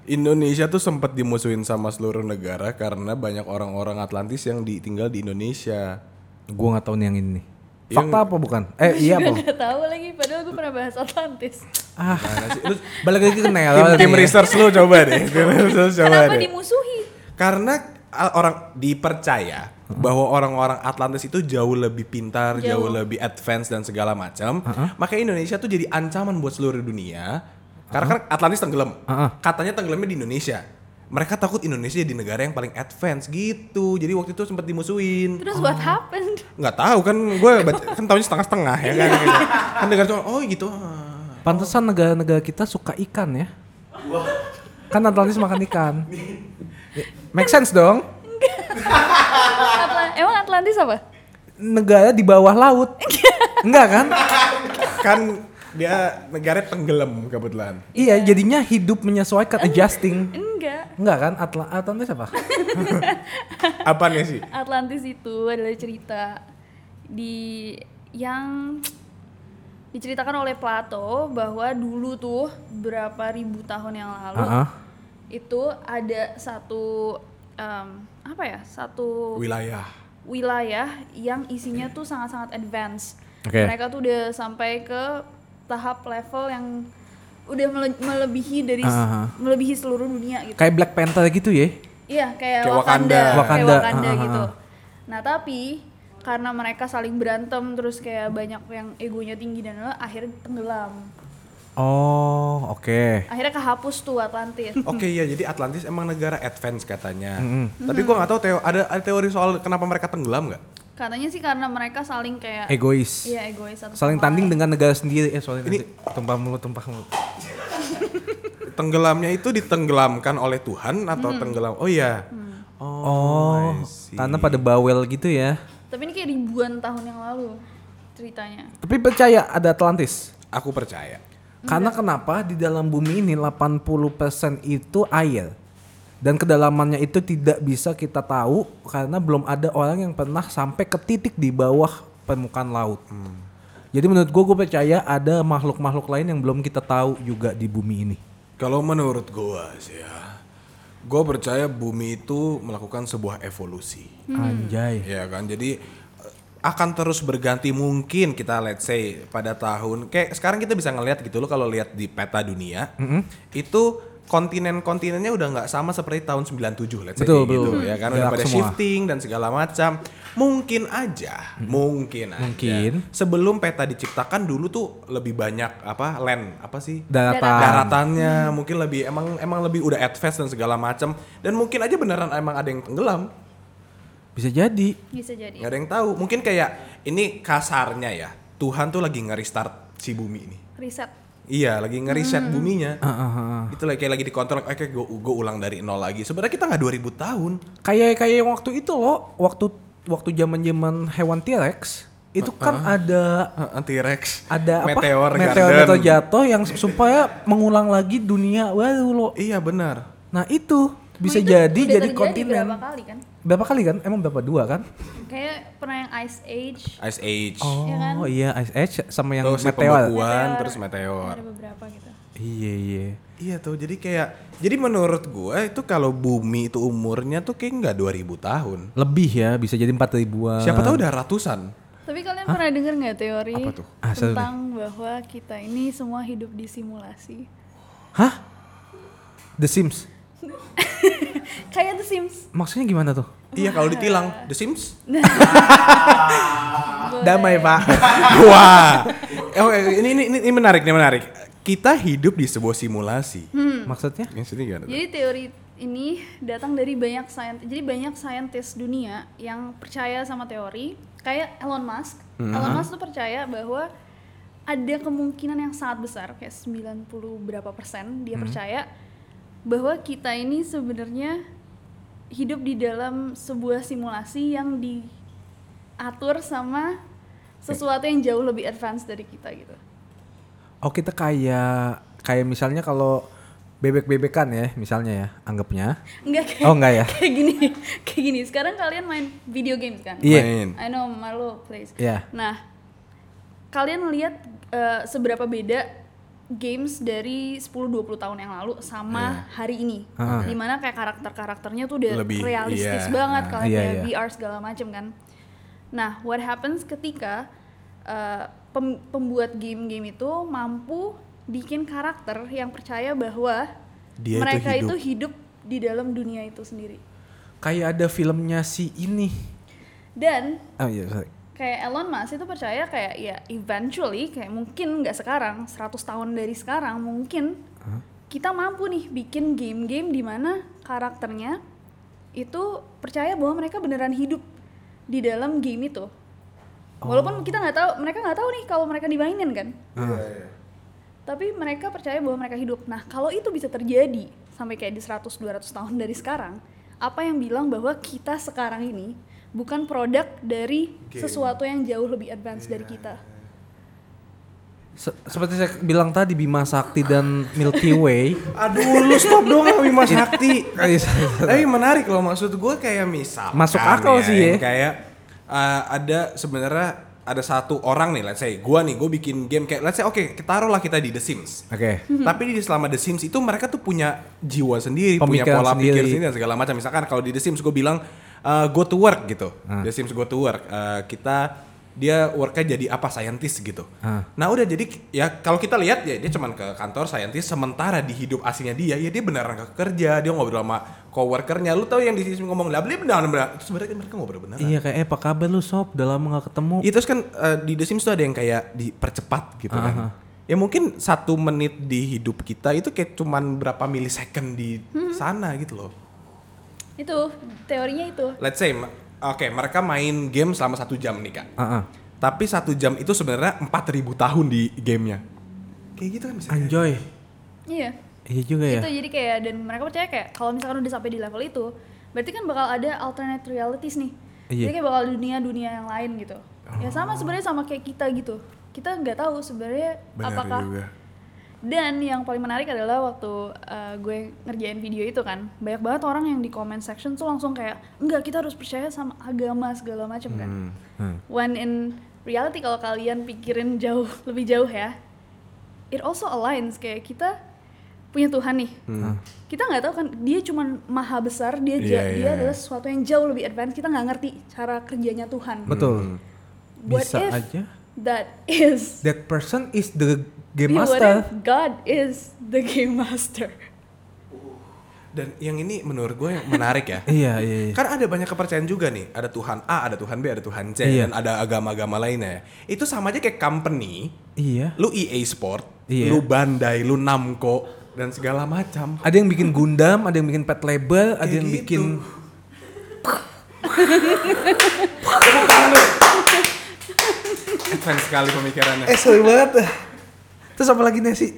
Indonesia tuh sempat dimusuhin sama seluruh negara karena banyak orang-orang Atlantis yang ditinggal di Indonesia.
gue nggak tahu nih yang ini. Fakta apa bukan? Eh <laughs> iya
Gue
apa?
nggak tahu lagi, padahal gue pernah bahas Atlantis.
Ah, balik lagi ke ya.
Tim,
Nel.
tim research lu <laughs> coba deh. Tim research coba
Kenapa
deh.
dimusuhi?
Karena ah, orang dipercaya bahwa orang-orang Atlantis itu jauh lebih pintar,
Jauh.
jauh, lebih advance dan segala macam. Makanya Indonesia tuh jadi ancaman buat seluruh dunia. Karena kan Atlantis tenggelam.
Uh-uh.
Katanya tenggelamnya di Indonesia. Mereka takut Indonesia jadi negara yang paling advance gitu. Jadi waktu itu sempat dimusuhin.
Ah.
Terus what happened?
Nggak tahu kan gue baca- kan tahunnya setengah-setengah ya kan. kan negara tuh oh gitu. ah.
Pantesan negara-negara kita suka ikan ya. Kan Atlantis makan ikan. Ya, Make sense dong.
Atla- Emang Atlantis apa?
Negara di bawah laut. Enggak kan?
kan dia negara tenggelam kebetulan.
Iya, jadinya hidup menyesuaikan adjusting.
Enggak.
Enggak kan? Atla Atlantis apa?
Apa nih ya sih?
Atlantis itu adalah cerita di yang diceritakan oleh Plato bahwa dulu tuh berapa ribu tahun yang lalu
Ah, ah.
itu ada satu em, apa ya satu
Wilayah.
wilayah yang isinya tuh sangat-sangat advance.
Oke.
Mereka tuh udah sampai ke tahap level yang udah mele- melebihi dari
Ah, ah.
melebihi seluruh dunia gitu.
Kayak Black Panther gitu ya.
Iya kayak,
Kayak
Wakanda,
Wakanda.
kayak
Wakanda,
Wakanda
ah, ah,
gitu.
ah.
Nah tapi karena mereka saling berantem terus kayak banyak yang egonya tinggi dan lain-lain, akhirnya tenggelam.
Oh, oke.
Akhirnya kehapus tuh Atlantis.
Oke ya, jadi Atlantis emang negara advance katanya. Tapi gua nggak tahu teo ada, ada teori soal kenapa mereka tenggelam nggak?
Katanya sih karena mereka saling kayak
Egois.
iya egois satu
Saling
sama
tanding
lain.
dengan negara sendiri. Eh, soalnya
Ini-
nanti tumpah mulut, tumpah mulut.
Tenggelamnya itu ditenggelamkan oleh Tuhan atau tenggelam? Oh iya.
Mm. Oh,
I see.
tanah pada bawel gitu ya.
Tapi ini kayak ribuan tahun yang lalu ceritanya.
Tapi percaya ada Atlantis.
Aku percaya.
Karena kenapa di dalam bumi ini 80% itu air. Dan kedalamannya itu tidak bisa kita tahu karena belum ada orang yang pernah sampai ke titik di bawah permukaan laut. Jadi menurut gue, gue percaya ada makhluk-makhluk lain yang belum kita tahu juga di bumi ini.
Kalau menurut gua sih ya, gua percaya bumi itu melakukan sebuah evolusi.
Anjay.
Ya kan, jadi eh, akan terus berganti mungkin kita let's say pada tahun kayak sekarang kita bisa ngelihat gitu loh kalau lihat di peta dunia
Mm-hmm.
itu kontinen-kontinennya udah nggak sama seperti tahun 97 let's say
Betul,
kayak gitu
betul.
ya kan udah
Gerak
pada
semua.
shifting dan segala macam mungkin aja mungkin aja
Mungkin.
sebelum peta diciptakan dulu tuh lebih banyak apa land apa sih
Daratan.
daratannya mungkin lebih emang emang lebih udah advance dan segala macam dan mungkin aja beneran emang ada yang tenggelam
Bisa jadi.
Bisa jadi.
Gak ada yang tahu. Mungkin kayak ini kasarnya ya. Tuhan tuh lagi nge-restart si bumi ini.
Riset.
Iya, lagi nge-reset buminya.
Ah, ah, ah.
Itu lagi kayak lagi dikontrol. Oke, gue ulang dari nol lagi. Sebenarnya kita nggak 2000 tahun.
Kayak kayak yang waktu itu loh, waktu waktu zaman-zaman hewan T-Rex itu kan ada
Heeh, eh, T-Rex.
ada
meteor
apa
garden.
meteor meteor jatuh yang supaya mengulang lagi dunia baru lo.
Iya, benar.
Nah itu bisa
Itu
jadi
udah
jadi
terjadi
kontinen.
Berapa
Berapa?
kali kan?
kali kan? Emang berapa dua kan?
Kayak pernah yang Ice Age.
Ice Age.
Oh
Iya kan?
iya Ice Age sama yang
Terus si
meteor.
pembekuan, terus meteor.
Ada beberapa gitu.
Iya iya.
Iya tuh, jadi kayak jadi menurut gue itu kalau bumi itu umurnya tuh kayak nggak 2000 tahun.
Lebih ya bisa jadi empat ribuan.
Siapa tahu udah ratusan.
Tapi kalian pernah dengar nggak teori
Apa tuh?
Ah, seru nih.
tentang bahwa kita ini semua hidup di simulasi? <laughs>
Hah? The Sims.
Kayak The Sims.
Maksudnya gimana tuh?
Iya, kalau ditilang The Sims.
Damai pak. <laughs>
Wah. Oh, ini, ini ini ini menarik nih menarik. Kita hidup di sebuah simulasi.
Hmm.
Hmm.
Maksudnya?
Yang sini gimana? tuh?
Jadi teori ini datang dari banyak saintis. Jadi banyak saintis dunia yang percaya sama teori. Kayak Elon Musk.
Hmm.
Elon Musk tuh percaya bahwa ada kemungkinan yang sangat besar kayak 90 berapa persen
Hmm.
dia percaya bahwa kita ini sebenarnya hidup di dalam sebuah simulasi yang diatur sama sesuatu yang jauh lebih advance dari kita gitu.
Oh kita kayak kayak misalnya kalau bebek-bebekan ya misalnya ya
<laughs>
anggapnya.
Enggak kayak
Oh enggak ya?
kayak gini kayak gini sekarang kalian main video games kan
Iya.
Main.
I know Marlo plays
Iya.
nah kalian lihat eh, seberapa beda games dari 10-20 tahun yang lalu sama hari ini
Ah.
dimana kayak karakter-karakternya tuh udah
Iya. Lebih,
realistis
iya.
banget
Ah.
kalian
Iya,
kayak
iya.
VR segala macem kan nah what happens ketika eh, pem- pembuat game-game itu mampu bikin karakter yang percaya bahwa
Dia itu
mereka
hidup.
itu hidup di dalam dunia itu sendiri
Kayak ada filmnya si ini.
Dan
Oh iya, sorry.
kayak Elon Musk itu percaya kayak ya eventually kayak mungkin nggak sekarang 100 tahun dari sekarang mungkin kita mampu nih bikin game-game di mana karakternya itu percaya bahwa mereka beneran hidup di dalam game itu walaupun kita nggak tahu mereka nggak tahu nih kalau mereka dimainin kan
Ah.
tapi mereka percaya bahwa mereka hidup nah kalau itu bisa terjadi sampai kayak di 100-200 tahun dari sekarang apa yang bilang bahwa kita sekarang ini bukan produk dari sesuatu yang jauh lebih advance dari kita
Se- seperti saya bilang tadi Bima Sakti dan Milky Way.
Aduh, lu stop dong sama Bima Sakti.
Iya, sorry, sorry.
Tapi menarik loh maksud gue kayak misal.
Masuk akal sih ya.
Kayak uh, ada sebenarnya ada satu orang nih, let's say gue nih, gue bikin game kayak let's say oke, kita taruhlah kita di The Sims.
Oke.
<laughs> Tapi di selama The Sims itu mereka tuh punya jiwa sendiri, punya
Pemikiran
pola pikir
sendiri.
sendiri dan segala macam. Misalkan kalau di The Sims gue bilang uh, go to work gitu. The Sims go to work. Uh, kita dia worknya jadi apa scientist gitu.
Ah.
Nah udah jadi ya kalau kita lihat ya dia cuman ke kantor scientist sementara di hidup aslinya dia ya dia beneran ke kerja dia ngobrol sama coworkernya. Lu tahu yang di sini ngomong lah beli beneran beneran. Terus Sebenarnya mereka ngobrol beneran.
Iya kayak eh apa kabar lu sob? Udah lama gak ketemu.
Ya terus kan eh, di The Sims tuh ada yang kayak dipercepat gitu kan.
Aha.
Ya mungkin satu menit di hidup kita itu kayak cuman berapa milisecond di sana gitu loh.
itu teorinya itu
Let's say, ma- oke mereka main game selama satu jam nih kak.
Ah, ah.
Tapi satu jam itu sebenarnya 4000 tahun di gamenya. Kayak gitu kan bisa.
Anjoy.
iya
Iya juga ya.
itu jadi kayak dan mereka percaya kayak kalau misalkan udah sampai di level itu berarti kan bakal ada alternate realities nih
Iya.
jadi kayak bakal dunia-dunia yang lain gitu ya sama sebenarnya sama kayak kita gitu kita nggak tahu sebenarnya apakah dan yang paling menarik adalah waktu uh, gue ngerjain video itu kan banyak banget orang yang di comment section tuh langsung kayak enggak kita harus percaya sama agama segala macam kan
Hmm.
Hmm,
when in reality kalau kalian pikirin jauh <laughs> lebih jauh ya it also aligns kayak kita punya Tuhan nih kita nggak tahu kan dia cuman maha besar dia ja-
Iya,
dia
iya.
adalah sesuatu yang jauh lebih advance kita nggak ngerti cara kerjanya Tuhan
Betul.
ya? What
Bisa
if
aja.
that is
That person is the game
Yeah, <laughs> what
master.
if God is the game master.
Dan yang ini menurut gue yang menarik ya.
<laughs> Iya, iya, iya.
Kan ada banyak kepercayaan juga nih. Ada Tuhan A, ada Tuhan B, ada Tuhan C,
Iya.
dan ada agama-agama lainnya. ya. Itu sama aja kayak company.
Iya.
Lu EA Sport,
Iya.
lu Bandai, lu Namco, dan segala macam.
Ada yang bikin Gundam, ada yang bikin pet label, ada
Kayak
yang
gitu.
bikin
Advance sekali pemikirannya.
Eh sorry banget. Terus apa lagi nih sih?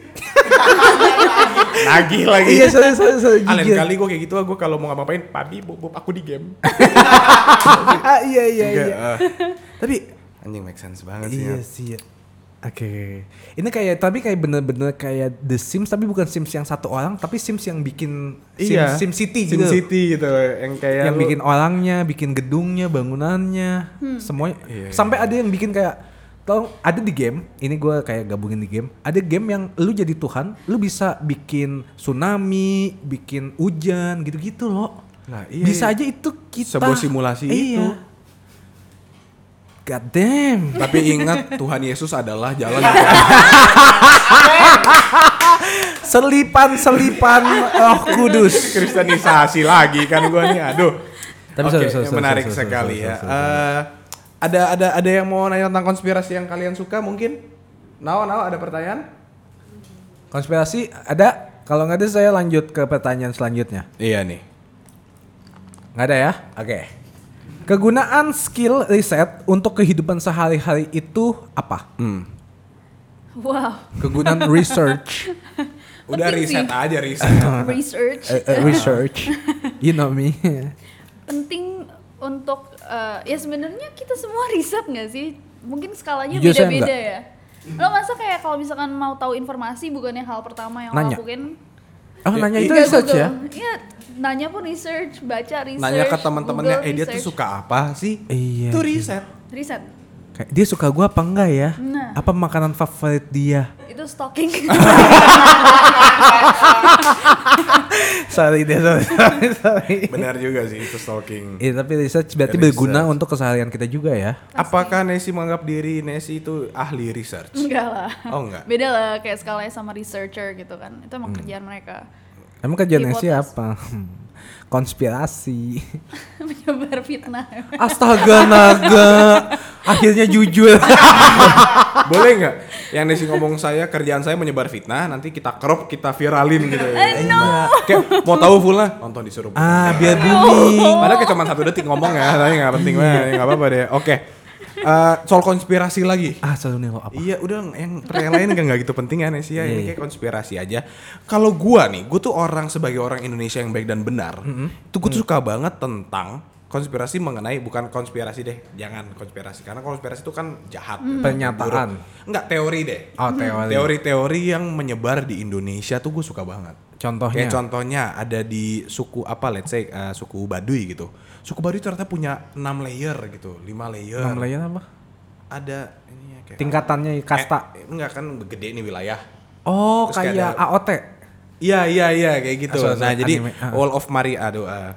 Lagi lagi.
iya sorry sorry sorry.
Lain
jijik.
kali gue kayak gitu, gue kalau mau ngapain, papi bob, bob, aku di game.
Ah, iya iya
Enggak,
iya.
eh. Tapi anjing make sense banget sih.
Iya
ya.
sih. ya. Oke. Ini kayak tapi kayak bener-bener kayak The Sims tapi bukan Sims yang satu orang tapi Sims yang bikin Sim,
Iya.
Sim City
Sim
gitu.
City gitu yang kayak
yang
lu-
bikin orangnya, bikin gedungnya, bangunannya, semuanya.
Iya,
Sampai ada yang bikin kayak tau ada di game, ini gue kayak gabungin di game. Ada game yang lu jadi Tuhan, lu bisa bikin tsunami, bikin hujan, gitu-gitu loh.
Nah, iya,
bisa
iya.
aja itu kita. Iya.
Sebuah simulasi itu.
God damn.
Tapi ingat Tuhan Yesus adalah jalan
<laughs>
yang terang.
<laughs> Selipan-selipan Oh, Roh Kudus.
kristenisasi lagi kan gua nih. Aduh.
Tapi
Oke,
sorry, sorry, sorry,
menarik
sorry, sorry,
sekali
sorry,
ya.
sorry,
Eh, ada ada ada yang mau nanya tentang konspirasi yang kalian suka mungkin? Nao, Nao ada pertanyaan?
Konspirasi ada? Kalau nggak ada saya lanjut ke pertanyaan selanjutnya.
Iya nih.
Nggak ada ya? Oke. Kegunaan skill riset untuk kehidupan sehari-hari itu apa?
Wow.
<laughs> Kegunaan research.
Udah
Penting
riset
sih.
aja riset.
Research
Eh, eh, research. You know me.
penting untuk eh, ya sebenarnya kita semua <laughs> riset nggak sih? Mungkin skalanya
Iya,
Jujur saya
beda-beda ya. Lo masa kayak kalau misalkan mau tahu informasi bukannya hal pertama yang
Nanya.
lo lakuin?
Oh nanya itu
Nggak
research
Google.
ya?
Iya, nanya pun research, baca research.
Nanya ke teman-temannya,
Google
eh dia tuh
research."
suka apa sih?
Iya,
Itu
iya.
riset.
Riset.
Kayak, dia suka gua apa enggak ya?
Nah.
Apa makanan favorit dia?
Itu
<laughs>
stalking.
Sorry deh, sorry. sorry, sorry.
Benar juga sih itu stalking.
<laughs> Iya, tapi research berarti
Research.
berguna untuk keseharian kita juga ya.
Apakah Nesi menganggap diri Nesi itu ahli research?
Enggak lah.
Oh enggak.
Beda lah
Hmm.
kayak skalanya sama researcher gitu kan. Itu emang kerjaan mereka. <laughs>
Emang kerjaan
Hipotes.
Nasi apa? Hmm. <laughs> konspirasi.
menyebar fitnah
Astaga naga, akhirnya
<laughs>
jujur.
Boleh nggak? Yang Nesi ngomong saya kerjaan saya menyebar fitnah, nanti kita crop, kita viralin gitu. ya.
Iya.
Kayak mau tahu fullnya nonton disuruh.
ah biar booming.
Padahal kayak cuma satu detik ngomong ya, tapi nggak penting banget, nggak apa-apa deh. Oke, Eh, soal konspirasi lagi.
Ah selalu nih lo apa?
Iya, udah yang yang lain nggak nggak gitu penting ya Nesi ya.
Iya,
Ini
iya.
kayak konspirasi aja. Kalau gua nih, gua tuh orang sebagai orang Indonesia yang baik dan benar.
Mm-hmm.
Itu gua tuh suka banget tentang konspirasi mengenai bukan konspirasi deh, jangan konspirasi karena konspirasi itu kan jahat.
Mm-hmm. Pernyataan.
Buruk. Enggak teori deh.
Oh teori.
Teori-teori yang menyebar di Indonesia tuh gue suka banget.
Contohnya?
Kayak contohnya ada di suku apa let's say eh, suku Baduy gitu. Suku Baduy ternyata punya 6 layer gitu, 5 layer.
Nama lain apa?
Ada ini ya kayak
Tingkatannya kasta.
Eh, enggak kan gede nih wilayah.
Oh
Terus kayak
kayak
ada-
AOT.
Iya iya iya kayak gitu.
Ah, sorry,
nah
sorry,
jadi
anime. Ah.
Wall of Maria aduh. eh,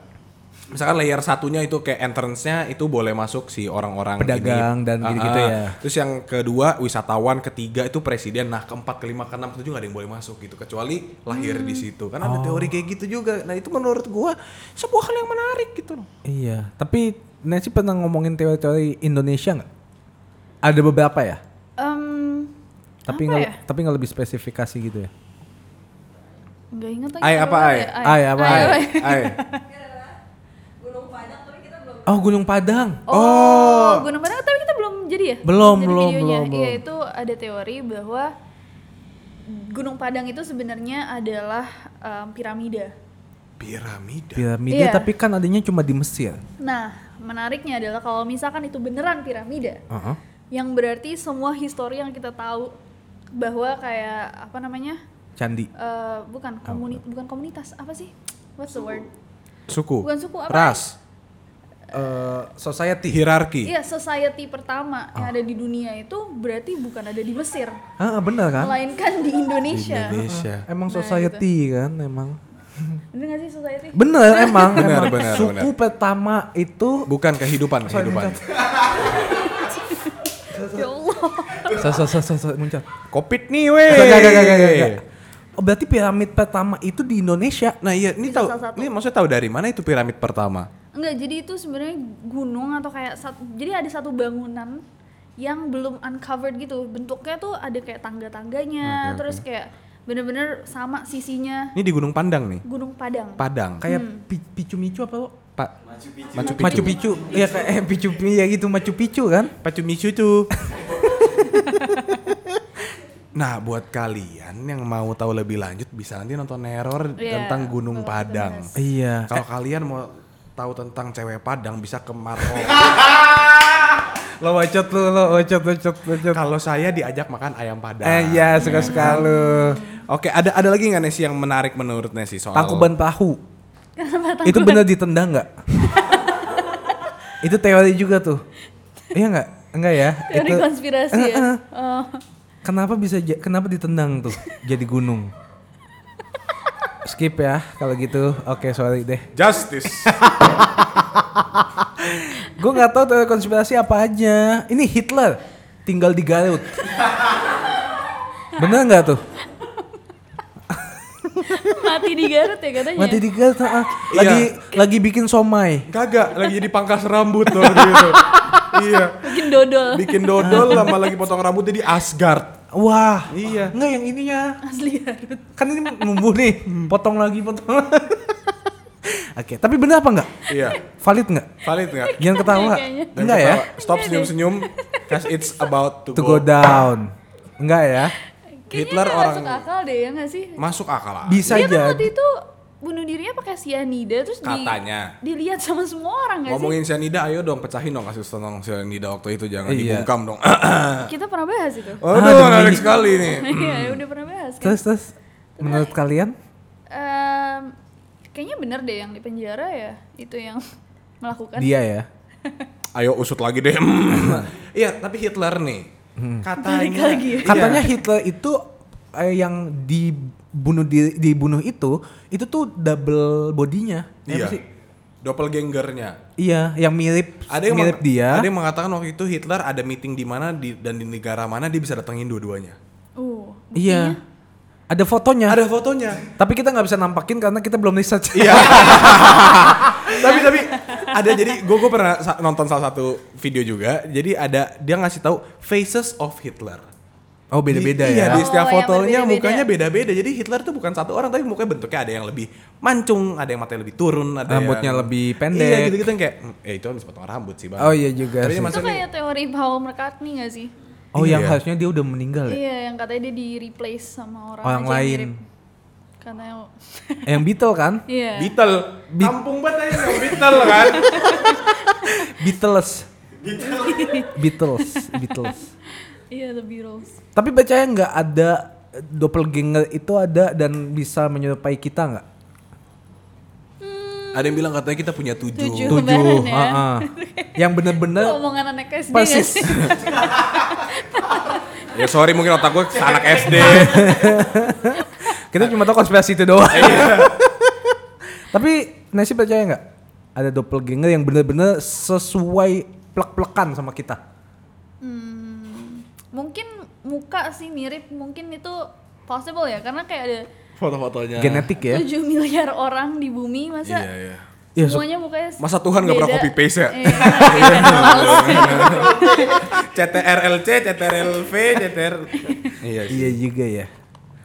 misalkan layer satunya itu kayak entrance-nya itu boleh masuk si orang-orang
Pedagang
ini.
dan
Ah,
gitu-gitu
ah.
ya.
Terus yang kedua wisatawan, ketiga itu presiden. Nah, keempat, kelima, keenam, ketujuh nggak ada yang boleh masuk gitu kecuali lahir di
Hmm.
situ. Kan
Oh.
ada teori kayak gitu juga. Nah, itu menurut gua sebuah hal yang menarik gitu loh.
Iya. Tapi Nancy pernah ngomongin teori-teori Indonesia nggak? Ada beberapa ya.
Em,
Tapi
apa
nggak
ya?
tapi nggak lebih spesifikasi gitu ya.
nggak inget lagi
Ai,
kalau
apa ai?
ya,
Ai, apa ai?
apa ai? <laughs>
Ay,
Oh Gunung Padang.
Oh, Gunung Padang tapi kita belum jadi ya?
Belum,
Jadi
belum,
videonya.
belum,
Iya,
belum.
itu ada teori bahwa Gunung Padang itu sebenarnya adalah em, piramida.
piramida.
Piramida
Iya.
tapi kan adanya cuma di Mesir.
Nah, menariknya adalah kalau misalkan itu beneran piramida,
Heeh.
yang berarti semua histori yang kita tahu bahwa kayak apa namanya?
Candi.
Eh, bukan komuni- bukan komunitas, apa sih? What's the word?
Suku.
Bukan suku, apa?
Ras,
Eh, society.
hierarki.
Iya, society pertama yang ada di dunia itu berarti bukan ada di Mesir,
Ah bener kan?
melainkan di Indonesia.
Indonesia.
Nah,
Emang society kan emang.
Bener gak sih society? <laughs>
Bener emang. emang.
Bener, bener,
Suku pertama itu
Bukan kehidupan,
Sorry,
kehidupan.
ya Allah.
so, so, so, so, so, muncul.
Covid nih weh.
Gak, gak, gak, gak, gak, gak. Oh, Berarti piramid pertama itu di Indonesia.
Nah iya, ini
Bisa
tahu,
salah satu.
ini maksudnya tahu dari mana itu piramid pertama?
Enggak, jadi itu sebenarnya gunung atau kayak sat- jadi ada satu bangunan yang belum uncovered gitu. Bentuknya tuh ada kayak tangga-tangganya, terus kayak bener-bener sama sisinya
Ini di Gunung Pandang nih,
Gunung Padang. <laughs>
Padang.
Kayak
Hmm.
pi- picu micu apa lo?
Pak Macu Picchu.
Machu Picchu. Iya kayak eh, picu ya gitu Machu Picchu kan?
Pacu Micu tuh. <laughs> nah, buat kalian yang mau tahu lebih lanjut bisa nanti nonton Error
Iya,
tentang Gunung
betul,
Padang.
Iya.
Kalau kalian mau tahu tentang cewek Padang bisa ke Maroko.
<laughs> Lo wacot lo, lo wacot wacot wacot.
Kalau saya diajak makan ayam Padang.
Eh iya suka suka lo.
Oke, ada ada lagi nggak Nesi yang menarik menurut Nesi soal
Tangkuban perahu. Itu bener ditendang
<laughs>
nggak? itu teori juga tuh. Iya nggak? Enggak ya?
Teori
Itu-
konspirasi
Eh,
ya.
eh.
Oh. <laughs>
Kenapa bisa ja- kenapa ditendang tuh jadi gunung? Skip ya kalau gitu. Oke, sorry deh.
Justice. <laughs>
Gue nggak tahu teori konspirasi apa aja. Ini Hitler tinggal di Garut. Bener nggak tuh?
Mati di Garut ya katanya.
Mati di Garut. ah, ah.
Iya.
Lagi lagi bikin somai.
Kagak, lagi jadi pangkas rambut loh gitu. iya.
Bikin dodol.
Bikin dodol sama lagi potong rambutnya di Asgard.
Wah.
Iya.
Enggak yang ininya.
Asli Garut.
Kan ini numbuh nih. Potong lagi, potong. lagi. Oke, tapi bener apa nggak?
Iya.
Valid nggak?
Valid nggak?
Jangan ketawa.
Kayaknya.
Jangan
Enggak ya?
ketawa. Stop senyum-senyum. Cause it's about to,
To go down. Enggak ya?
Hitler
nggak
orang-
masuk akal deh ya nggak sih?
Masuk akal lah.
Bisa
Dia kan
jadi.
waktu itu bunuh dirinya pakai sianida terus di-
Katanya.
dilihat sama semua orang nggak sih?
Ngomongin Sianida, ayo dong pecahin dong kasus tentang Sianida waktu itu jangan
Iya.
dibungkam
<coughs>
dong.
Kita pernah bahas itu.
Aduh,
demi
menarik
ini.
sekali nih.
<laughs> Iya, udah pernah bahas kan.
Terus terus menurut kalian?
Em, kayaknya bener deh yang di penjara ya itu yang <laughs> melakukan.
Dia ya.
Ayo usut lagi deh. <coughs> Iya, tapi Hitler nih.
Hmm.
Katanya.
lagi ya?
Katanya Hitler itu eh, yang dibunuh di, dibunuh itu itu tuh double bodinya.
Iya.
Apa sih?
Doppelgangernya.
Iya, yang mirip
ada yang
mirip
meng-
dia.
ada yang mengatakan waktu itu Hitler ada meeting di mana di, dan di negara mana dia bisa datengin dua-duanya
Uh,
Iya. Ada fotonya.
Ada fotonya.
Tapi kita nggak bisa nampakin karena kita belum research.
<laughs> Iya. tapi tapi ada jadi gue gue pernah sa- nonton salah satu video juga. Jadi ada dia ngasih tahu faces of Hitler.
<laughs> Oh beda-beda
Di-
ya.
Iya, di
Oh,
setiap
yang
fotonya
berbeda-beda.
mukanya beda-beda. Jadi Hitler tuh bukan satu orang tapi mukanya bentuknya ada yang lebih mancung, ada yang matanya lebih turun, ada
Rambutnya
yang-
lebih pendek.
Iya, gitu-gitu yang kayak "Hmm, ya itu habis potong rambut sih, Bang.
Oh iya juga
Tapi
sih.
Itu
maksudnya
kayak teori Paul McCartney gak sih?
Oh yang
Iya.
harusnya dia udah meninggal ya.
Iya, yang katanya dia di replace sama orang,
Orang
aja yang
lain.
mirip. Katanya
yang Beatle kan?
Iya.
Beetle. Kampung banget aja yang Beetle kan.
Beatles. Beatles, Beatles.
Iya, The Beatles.
Tapi percaya nggak ada eh, doppelganger itu ada dan bisa menyerupai kita nggak?
ada yang bilang katanya kita punya
Tujuh.
tujuh.
Kebenaran ya. <laughs>
ha-ha. Yang bener-bener
Itu omongan anak SD
<laughs>
nggak
persis.
<laughs> sih?
Ya sorry mungkin otak gue anak SD.
<laughs> Kita cuma tahu konspirasi itu doang.
Iya.
<laughs> Tapi Nasi percaya nggak ada doppelganger yang bener-bener sesuai plek-plekan sama kita?
Hmm, mungkin muka sih mirip, mungkin itu possible ya karena kayak ada
<laughs> Foto-fotonya.
Genetik ya.
7 miliar orang di bumi
Iya,
masa
iya.
Iya, so-
semuanya mukanya s-
Masa Tuhan nggak pernah
beda?
copy paste ya? <laughs>
Iya, iya, males.
iya. CTRLC, CTRLV, CTR. iya. sih.
Iya juga ya.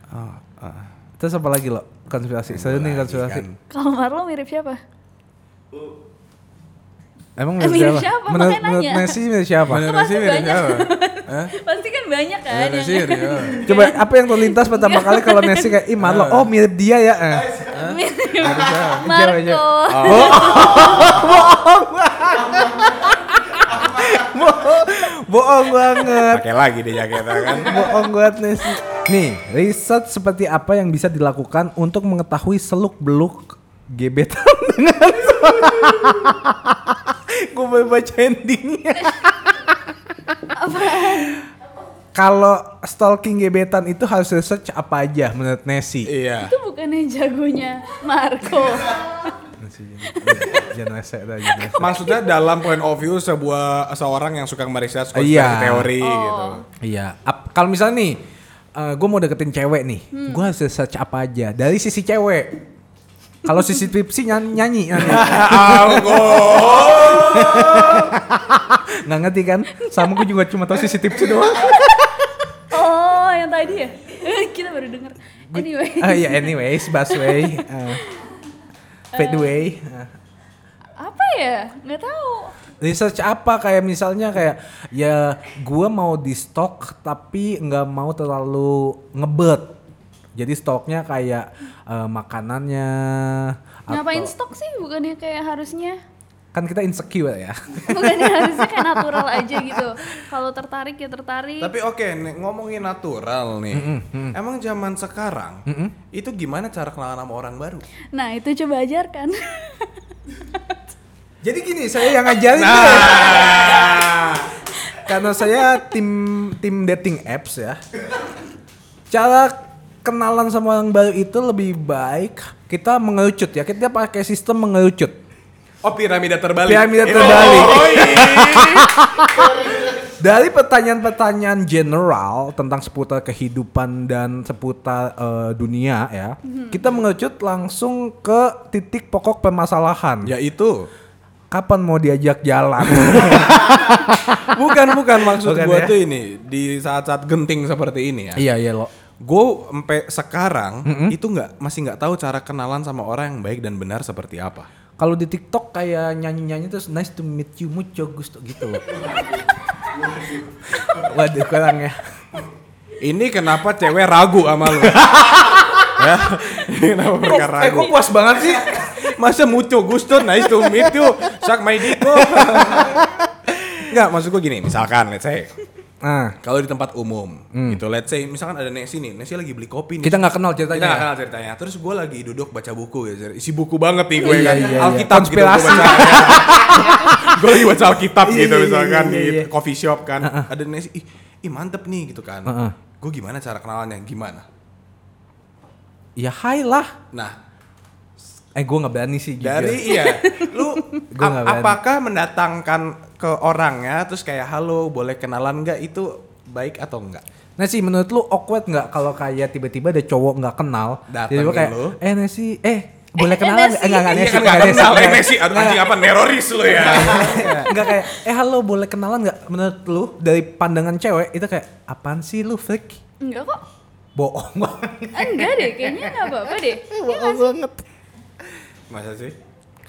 Oh, ah. Terus apa lagi lo? Konspirasi. Seru nih konspirasi.
kan.
Kalau Marlo mirip siapa?
Emang
Eh,
menurut
mirip
siapa?
siapa?
Menurut,
Makanya
menurut
nanya.
Messi mirip siapa?
Mana
Termasuk
sih mirip
banyak. <laughs>
siapa? Hah? Iya, ya.
Pasti kan banyak kan.
Mana
yang-
sih
<laughs>
iya. mirip siapa?
Coba apa yang terlintas pertama kali kalau Messi kayak Ih Marlo, oh mirip dia ya eh. <laughs>
mirip
siapa?
<laughs>
Coba,
Marco.
Ah.
Bohong banget
Pakai lagi deh jaketnya kan.
Bohong banget Messi Nih, riset seperti apa yang bisa dilakukan untuk mengetahui seluk-beluk gebetan <laughs> dengan Gue mau baca endingnya Kalau stalking gebetan itu harus research apa aja menurut Nessie?
Iya.
Itu bukannya jagonya Marco.
Iya, Jangan rese dah, jangan rese.
Maksudnya dalam point of view sebuah seorang yang suka memeriksa konspirasi
Iya.
teori gitu.
Iya. Ap- Kalau misalnya nih, gue mau deketin cewek nih, gue harus search apa aja dari sisi cewek. Kalau sisi tipsi nyanyi, nyanyi, nyanyi.
Ya
nggak ngerti kan? Sama gue juga cuma tahu sisi tipsi doang.
Oh, yang tadi ya? <laughs> Kita baru denger.
<laughs>
Anyway.
Ah ya anyways, busway, uh, fadeaway. uh.
Apa ya? Nggak tahu.
Research apa kayak misalnya kayak ya gue mau di stok tapi nggak mau terlalu ngebet. Jadi stoknya kayak eh, makanannya.
Ngapain
atau-
stok sih? Bukannya kayak harusnya
kan kita insecure ya.
bukannya harusnya kayak natural aja gitu. Kalau tertarik ya tertarik.
Tapi oke, nih, ngomongin natural nih. Emang zaman sekarang itu gimana cara kenalan sama orang baru?
Nah, itu coba ajarkan. <laughs>
Jadi gini, saya yang ngajarin deh.
Nah.
karena saya tim tim dating apps ya. Cara kenalan sama orang baru itu lebih baik kita mengerucut ya. Kita pakai sistem mengerucut.
Oh piramida terbalik.
Piramida
Itu-
terbalik.
Oh,
<laughs>
iya.
Dari pertanyaan-pertanyaan general tentang seputar kehidupan dan seputar eh, dunia ya, kita mengerucut langsung ke titik pokok permasalahan.
ya itu.
Kapan mau diajak <laughs> jalan?
Bukan bukan maksud
Bukan
gua
ya?
tuh ini di saat-saat genting seperti ini ya.
iya iya lo.
Gue sampai sekarang itu nggak masih nggak tahu cara kenalan sama orang yang baik dan benar seperti apa.
Kalau di TikTok kayak nyanyi-nyanyi terus nice to meet you mucho gusto gitu
<laughs>
loh. Waduh kurang ya.
Ini kenapa cewek ragu sama
<laughs>
lu? ya, ini kenapa mereka
eh
ragu?
kok puas banget sih?
Masa mucho gusto, nice to meet you, suck my dick
<laughs>
bro. Nggak, maksud gue gini, misalkan let's say,
Nah,
kalau di tempat umum, gitu let's say, misalkan ada Nesi nih, Nesi lagi beli kopi nih.
Hmm. kita nggak kenal
kita
ceritanya.
nggak
ya?
kenal ceritanya. Terus gue lagi duduk baca buku ya, Zer. isi buku banget nih gue
Iya,
kan,
iya, iya.
Alkitab
Konspirasi.
<laughs> gitu. Gue lagi baca Alkitab
Iya,
gitu
iya, iya,
misalkan
iya, iya.
di coffee shop kan, ada Nesi, ih, ih mantep nih gitu kan.
Heeh.
Gue gimana cara kenalannya? Gimana?
Ya hai lah.
Nah,
Eh gue nggak berani sih. jujur.
dari iya lu
<laughs> Gua
ap-
nggak berani.
apakah mendatangkan ke orangnya terus kayak halo boleh kenalan nggak itu baik atau enggak
Nasi Nah, menurut lu awkward nggak kalau kayak tiba-tiba ada cowok nggak kenal,
Datang
tiba-tiba kayak,
ke lu.
eh Nasi, eh boleh
Eh,
kenalan
Nasi.
nggak? Eh, nggak nggak
Iya
Nasi,
kan nggak
nggak ya. Iya. Nasi,
kenal
nggak <laughs>
eh,
Nasi.
Messi, aduh anjing apa neroris lu ya.
Iya. Enggak kayak, eh halo boleh kenalan nggak? Menurut lu dari pandangan cewek itu kayak apaan sih lu freak?
Enggak kok.
Bohong banget.
Eh, Enggak deh, kayaknya enggak apa-apa deh.
Bohong banget. Masa sih?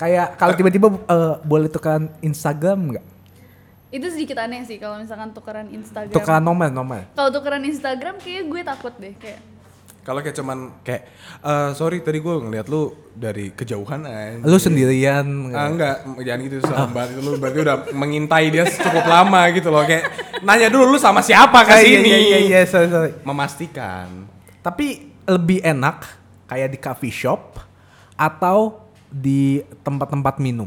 Kayak kalau tiba-tiba eh, boleh tukeran Instagram nggak?
Itu sedikit aneh sih kalau misalkan tukeran Instagram.
Tukeran nomor nomor.
Kalau tukeran Instagram kayaknya gue takut deh kayak.
Kalau kayak cuman kayak eh sorry tadi gue ngeliat lu dari kejauhan aja.
Lu sendirian nggak?
Ah, enggak, jangan gitu sambat itu lu berarti udah mengintai dia cukup lama gitu loh kayak nanya dulu lu sama siapa
Ah,
ke
iya,
sini.
Iya iya iya sorry sorry.
Memastikan.
Tapi lebih enak kayak di coffee shop atau di tempat-tempat minum.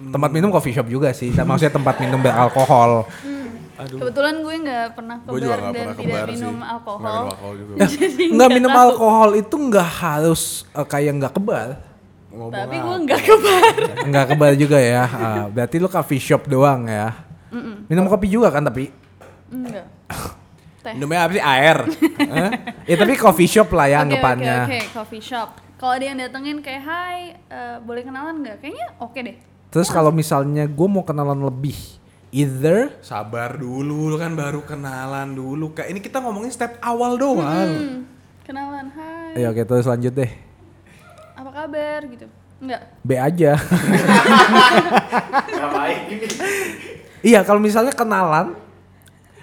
Tempat minum coffee shop juga sih, tapi maksudnya tempat minum beralkohol.
Kebetulan gue nggak pernah ke
Gue juga
bar
nggak
dan
pernah ke
tidak
bar sih.
minum
Nggak
<laughs> alkohol.
minum alkohol juga.
Iya. Nggak minum alkohol itu nggak harus eh, kayak nggak kebar.
Ngomong
Tapi
apa?
gue nggak ke bar.
Nggak kebar juga ya. Ah, berarti lu coffee shop doang ya. Minum kopi juga kan tapi.
Enggak. Teh. Oke,
Minumnya apa sih air?
Eh? Ya tapi coffee shop lah ya
oke,
anggapannya.
Oke, coffee shop. Kalau ada yang datengin kayak hai, eh, boleh kenalan nggak? Kayaknya oke deh.
Terus kalau misalnya gue mau kenalan lebih, either
Sabar dulu lu kan baru kenalan dulu. Kak, ini kita ngomongin step
Oh,
awal doang.
Hmm, kenalan, hai,
ya oke terus lanjut deh.
apa kabar gitu. Enggak.
B aja. <laughs> iya, kalau misalnya kenalan,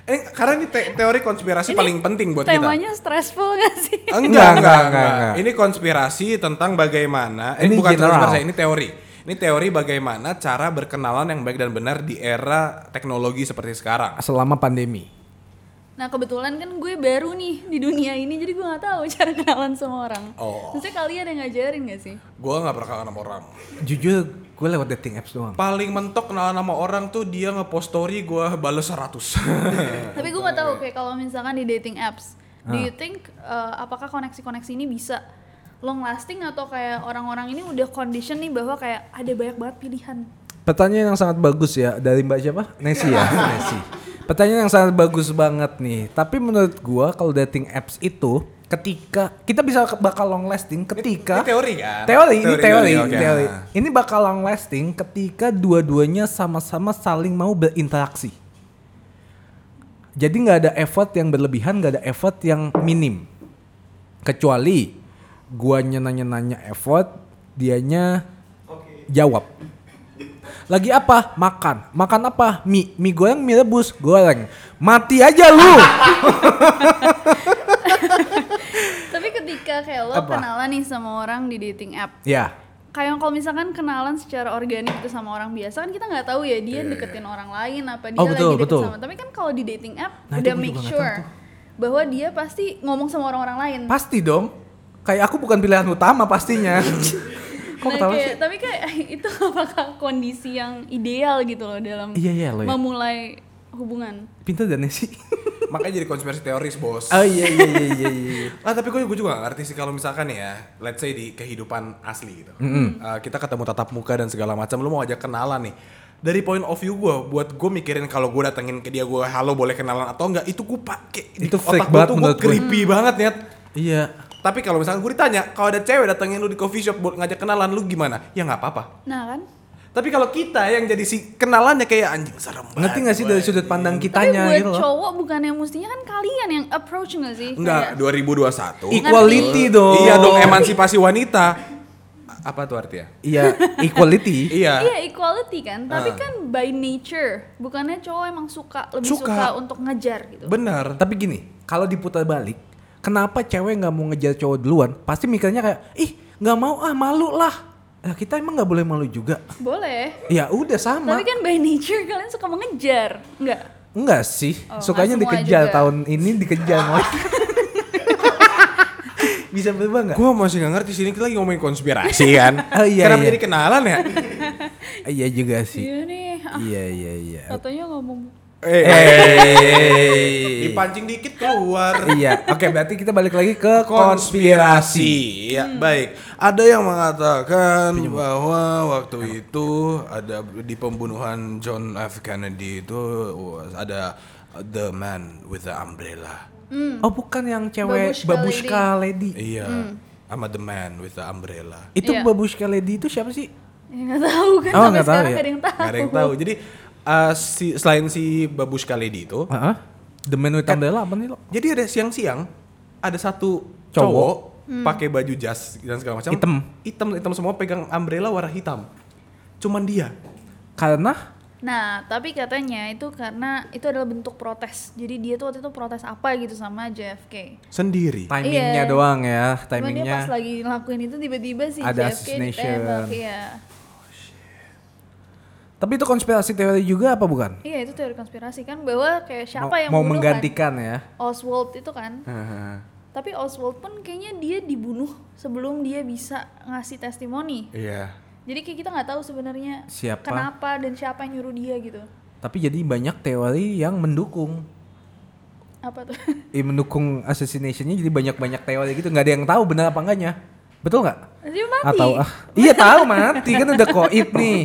Eh, karena ini te- teori konspirasi
Ini
paling penting buat kita.
Temanya stressful gak sih?
Enggak,
Enggak, enggak,
enggak,
enggak,
enggak.
Ini konspirasi tentang bagaimana
Ini
ini, bukan
general.
konspirasi, ini teori. Ini teori bagaimana cara berkenalan yang baik dan benar di era teknologi seperti sekarang.
selama pandemi.
Nah kebetulan kan gue baru nih di dunia ini jadi gue nggak tahu <laughs> cara kenalan sama orang.
Oh.
Maksudnya kalian yang ngajarin gak sih?
Gua nggak pernah kenalan sama orang.
Jujur, gue lewat dating apps doang.
Paling mentok kenalan sama orang tuh dia ngepost story gua bales <laughs> 100.
Tapi gue nggak tahu
eh.
kayak kalau misalkan di dating apps, do you think uh, apakah koneksi-koneksi ini bisa long lasting atau kayak orang-orang ini udah condition nih bahwa kayak ada banyak banget pilihan.
Pertanyaan yang sangat bagus ya dari Mbak siapa? Nesi <laughs> ya, Nesi. Pertanyaan yang sangat bagus banget nih. Tapi menurut gua kalau dating apps itu ketika kita bisa ke- bakal long lasting ketika
ini teori kan?
Teori, ini
Teori,
teori,
teori,
ini
oke. Nah.
teori. Ini bakal long lasting ketika dua-duanya sama-sama saling mau berinteraksi. Jadi nggak ada effort yang berlebihan, nggak ada effort yang minim. Kecuali guanya nanya-nanya effort, dianya jawab. Lagi apa? Makan. Makan apa? Mie. Mie goreng, mie rebus, goreng. Mati aja lu.
Tapi ketika kayak lo
Apa?
kenalan nih sama orang di dating app,
ya.
kayak kalau misalkan kenalan secara organik itu sama orang biasa kan kita nggak tahu ya dia deketin orang lain apa dia
Iya, Oh, betul,
lagi deket
betul.
sama tapi kan kalau di dating app
Nah, itu
udah
gua
make
juga nggak
sure
tahu
bahwa dia pasti ngomong sama orang-orang lain
Pasti dong. Kayak aku bukan pilihan utama pastinya. Kok
Nah,
ketawa
kayak-
sih?
tapi kayak <laughs> itu apakah kondisi yang ideal gitu loh dalam
Iya, iya, lo ya.
memulai hubungan
Pintar dan sih.
Makanya jadi konspirasi teoris, Bos.
<laughs> Oh iya iya iya iya iya.
Ah tapi gue gue juga gak ngerti sih kalau misalkan ya, let's say di kehidupan asli gitu, Eh, kita ketemu tatap muka dan segala macam, lu mau ajak kenalan nih. Dari point of view gue, buat gue mikirin kalau gue datengin ke dia gue halo boleh kenalan atau enggak itu gue pake di
Itu fake
otak gue
banget
tuh gue
menurut gue.
creepy banget ya.
Iya.
Tapi kalau misalkan gue ditanya, kalau ada cewek datengin lu di coffee shop buat ngajak kenalan lu gimana? Ya nggak apa-apa.
nah kan
Tapi kalau kita yang jadi si kenalannya kayak anjing serem banget. ya?"
Ngerti gak sih dari
woy."
sudut pandang
tapi
kitanya
buat
gitu loh?
cowok bukan yang mestinya kan kalian yang approach nggak sih
Enggak,
Kayak-
2021.
Equality dong.
Iya dong, emansipasi wanita. A- Apa tuh artinya?
Iya, equality. <laughs>
Iya.
Iya equality kan,
Ah.
tapi kan by nature bukannya cowok emang suka lebih suka,
Suka.
untuk ngejar gitu.
Benar.
Tapi gini, kalau diputar balik, kenapa cewek nggak mau ngejar cowok duluan? Pasti mikirnya kayak, ih nggak mau ah malu lah. Lah, kita emang nggak boleh malu juga.
Boleh,
Ya udah sama.
tapi kan by nature kalian suka mengejar, enggak?
Enggak sih,
Oh,
sukanya
nggak semua
dikejar
juga.
tahun ini dikejar mau. <laughs> Bisa berubah nggak?
Gua masih gak ngerti sini kita lagi ngomongin <laughs> konspirasi kan.
Oh, iya,
Kenapa
iya.
jadi kenalan ya?
Iya juga sih.
Iya nih, ah,
Iya iya iya.
katanya ngomong.
Eh,
Eh.
dipancing dikit keluar.
Iya, oke berarti kita balik lagi ke konspirasi.
Konspirasi. Ya, baik. Ada yang mengatakan bahwa waktu itu ada di pembunuhan John F Kennedy itu uh, ada The Man with the Umbrella.
Oh bukan yang cewek
Babushka
babushka lady.
Iya, sama The Man with the Umbrella.
Itu
Iya.
babushka lady itu siapa sih?
Ya, nggak tahu kan
Oh,
sampai
nggak tahu
sekarang
ya?
nggak ada yang tahu.
Gak ada yang tahu. Jadi eh, si, selain si Babushka Lady itu,
Heeh. The Man with Umbrella apa nih lo?
jadi ada siang-siang ada satu
Cowok.
cowok, pakai baju jas dan segala macam.
Hitam.
Hitam, hitam semua pegang umbrella warna hitam. Cuman dia.
Karena
Nah, tapi katanya itu karena itu adalah bentuk protes. Jadi dia tuh waktu itu protes apa gitu sama JFK.
Ah.
sendiri.
timingnya
Iya.
doang ya,
Cuma dia
timingnya.
pas lagi ngelakuin itu tiba-tiba sih
Ada
JFK
assassination.
ditembak. Iya.
Tapi itu konspirasi teori juga apa bukan?
Iya, itu teori konspirasi kan bahwa kayak siapa
mau
yang
mau
membunuh
menggantikan ya?
kan? Oswald itu kan.
Ah,
Tapi Oswald pun kayaknya dia dibunuh sebelum dia bisa ngasih testimoni.
Iya.
Jadi kayak kita nggak tahu sebenarnya
Siapa?
kenapa dan siapa yang nyuruh dia gitu.
Tapi jadi banyak teori yang mendukung.
Apa tuh? <laughs>
Eh, mendukung assassinationnya jadi banyak-banyak teori gitu. nggak ada yang tahu benar apa enggaknya. Betul nggak?
Dia mati.
Atau ah, <laughs> iya tahu mati kan udah koit nih.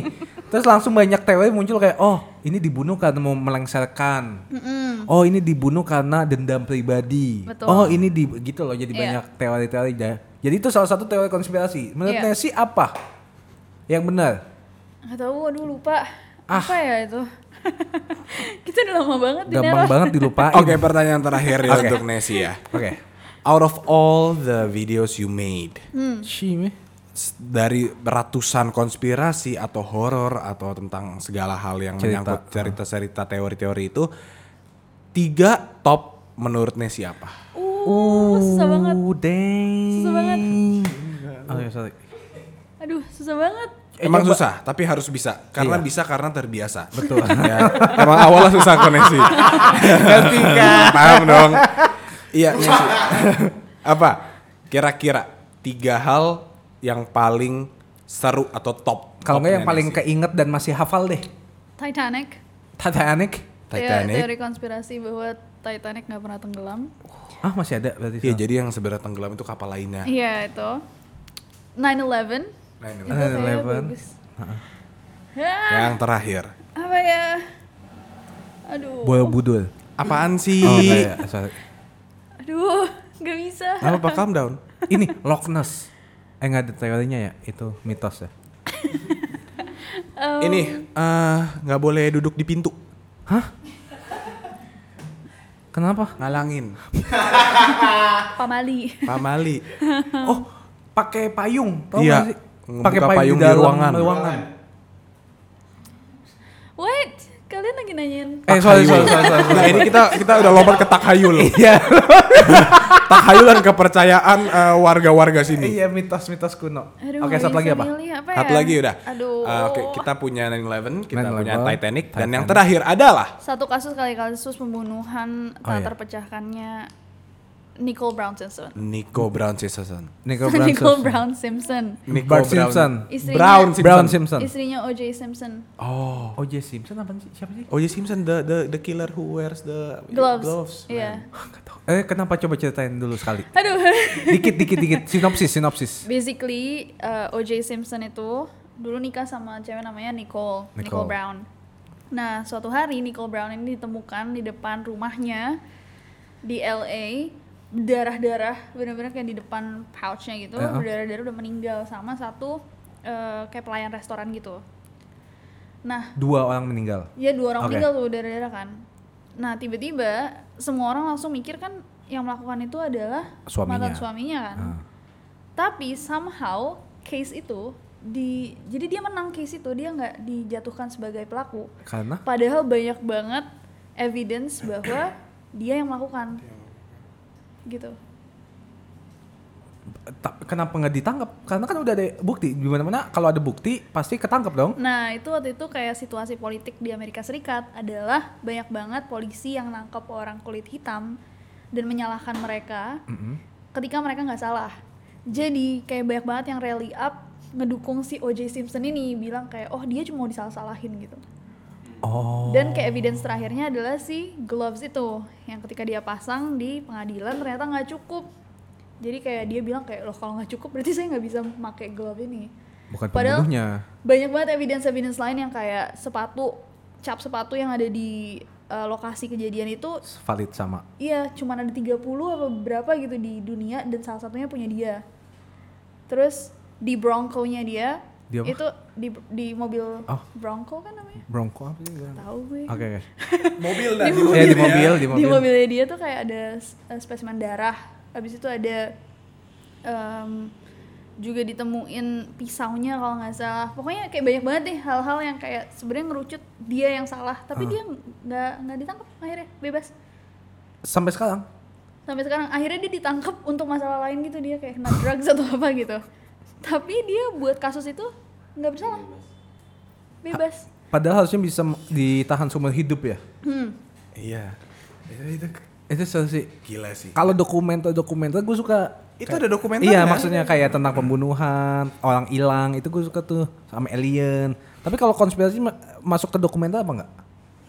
Terus langsung banyak teori muncul kayak oh ini dibunuh karena mau melengsarkan. Oh ini dibunuh karena dendam pribadi.
Betul.
Oh ini di gitu loh jadi
Iya.
banyak teori-teori dah. Jadi itu salah satu teori konspirasi. Menurut
Iya.
Nancy apa? Yang benar?
Nggak tahu, aduh lupa.
Ah.
Apa ya itu? <laughs> kita udah lama banget di
Gampang
Nero.
banget dilupain.
Oke, pertanyaan terakhir ya
Ah, iya. Oke.
untuk Nessie ya.
Oke.
Out of all the videos you made,
Hmm.
Shi, meh.
s- dari ratusan konspirasi atau horor atau tentang segala hal yang
Cerita. Ah.
menyangkut cerita-cerita teori-teori itu, tiga top menurut Nessie apa?
<laughs> Uh, susah banget.
Uh, dang.
Susah banget.
Oh, ya, sorry.
Aduh, susah banget.
Eh,
Emang
coba. Iya.
susah, tapi harus bisa. Karena bisa karena terbiasa. <laughs>
Betul.
Ya, emang awalnya susah
<laughs>
koneksi. Paham dong. Iya,
<laughs>
Nessie. Apa? Kira-kira tiga hal yang paling seru atau top.
Kalau nggak yang
topnya
paling
Nessie.
keinget dan masih hafal deh.
Titanic.
Titanic.
Teo-
Titanic.
Teori konspirasi bahwa Titanic nggak pernah tenggelam.
Ah masih ada berarti.
Iya,
Sal.
jadi yang sebenarnya tenggelam itu kapal lainnya.
Iya, itu. 9/11.
Nah,
Eh,
ini
Itu kayaknya
9/11.
bagus.
Ya.
Hah,
yang terakhir.
Ya, apa ya? Aduh.
Borobudur.
Apaan sih?
Oh, nggak ya, sorry.
Aduh, nggak bisa.
Apa apa calm down?
Ini Loch Ness. Eh nggak ada teorinya ya, itu mitos ya. Ah,
Em,
Ini eh, nggak boleh duduk di pintu.
Hah? Kenapa?
Ngalangin.
Pamali.
Pamali.
Oh, pakai payung, tau
Iya,
nggak sih?
ngebuka
Pakai payung,
payung
di,
di
dalam
ruangan.
Wait, kalian lagi nanyain
Eh, sorry, sorry, sorry, sorry.
<laughs> Nah, ini kita kita udah lompat ke takhayul.
<laughs> Iya,
<laughs> Takhayulan kepercayaan eh, warga-warga sini.
iya mitos-mitos kuno.
Aduh,
Oke,
nggak
satu lagi
bisa
apa?
milih apa
Satu
ya?
lagi udah.
Aduh.
Eh, Oke, kita punya 911, kita
9/11,
punya Titanic, dan yang
Titanic.
terakhir adalah
Satu kasus kali kasus pembunuhan
Oh,
tak
iya.
terpecahkannya Nicole Brown Simpson.
Nico Brown Simpson.
<laughs>
Nicole Brown
Nicole
Simpson.
Brown Simpson.
Nico
Bart
Brown-
Simpson.
Istrinya-
Brown Simpson.
Brown Simpson.
Istrinya O.J. Simpson.
Oh.
OJ Simpson apa sih? Siapa sih?
Oh ya Simpson the the the killer who wears the
Gloves.
man.
Iya.
Eh, kenapa coba ceritain dulu sekali?
Aduh. <laughs>
Dikit, dikit, dikit. Sinopsis, sinopsis.
Basically, uh, O.J. Simpson itu dulu nikah sama cewek namanya Nicole,
Nicole.
Nicole, Brown. Nah, suatu hari Nicole Brown ini ditemukan di depan rumahnya di LA darah-darah bener-bener kayak di depan pouchnya gitu
Ya.
berdarah-darah udah meninggal sama satu uh, kayak pelayan restoran gitu nah
Dua orang meninggal.
Ya dua orang
Oke.
meninggal tuh daerah-daerah kan. Nah tiba-tiba semua orang langsung mikir kan yang melakukan itu adalah
Suaminya.
mantan suaminya kan.
Ah.
Tapi somehow case itu di jadi dia menang case itu dia nggak dijatuhkan sebagai pelaku.
Karena
Padahal banyak banget evidence bahwa dia yang melakukan. Gitu.
Ta- kenapa nggak ditangkap? Karena kan udah ada bukti. Di mana-mana kalau ada bukti pasti ketangkep dong.
Nah itu waktu itu kayak situasi politik di Amerika Serikat adalah banyak banget polisi yang nangkep orang kulit hitam dan menyalahkan mereka ketika mereka nggak salah. Jadi kayak banyak banget yang rally up ngedukung si O.J. Simpson ini bilang kayak oh dia cuma mau disalah-salahin gitu.
Oh.
Dan kayak evidence terakhirnya adalah si gloves itu yang ketika dia pasang di pengadilan ternyata nggak cukup. Jadi kayak dia bilang kayak loh kalau nggak cukup berarti saya nggak bisa pakai glove ini.
Bukan
Padahal-
pembunuhnya.
Banyak banget evidence evidence lain yang kayak sepatu cap sepatu yang ada di eh, eh, lokasi kejadian itu
valid sama
Iya, cuman ada 30 apa berapa gitu di dunia dan salah satunya punya dia. Terus di Bronco-nya dia,
Di apa?
itu di di mobil
Oh.
Bronco kan namanya?
Bronco apa sih? Oke
Tahu gue.
oke.
mobil dah di
<laughs> Ya Iya. Ah. di
mobil
mobil,
ya.
di
Di
mobil.
mobilnya dia tuh kayak ada s- eh, spesimen darah. Habis itu ada em, juga ditemuin pisaunya kalau nggak salah. Pokoknya kayak banyak banget deh hal-hal yang kayak sebenarnya ngerucut dia yang salah,
Ah.
tapi dia nggak nggak ditangkap akhirnya bebas.
Sampai sekarang
sampai sekarang akhirnya dia ditangkap untuk masalah lain gitu dia kayak kena drugs atau apa gitu tapi dia buat kasus itu nggak bersalah bebas
padahal harusnya bisa m- ditahan seumur hidup ya.
iya itu, itu
Itu seru sih.
gila sih
Kalau dokumenter-dokumenter gue suka
itu ada dokumenter
Iya maksudnya kayak tentang pembunuhan, orang hilang itu gue suka tuh sama alien. Tapi kalau konspirasi ma- masuk ke dokumenter apa enggak?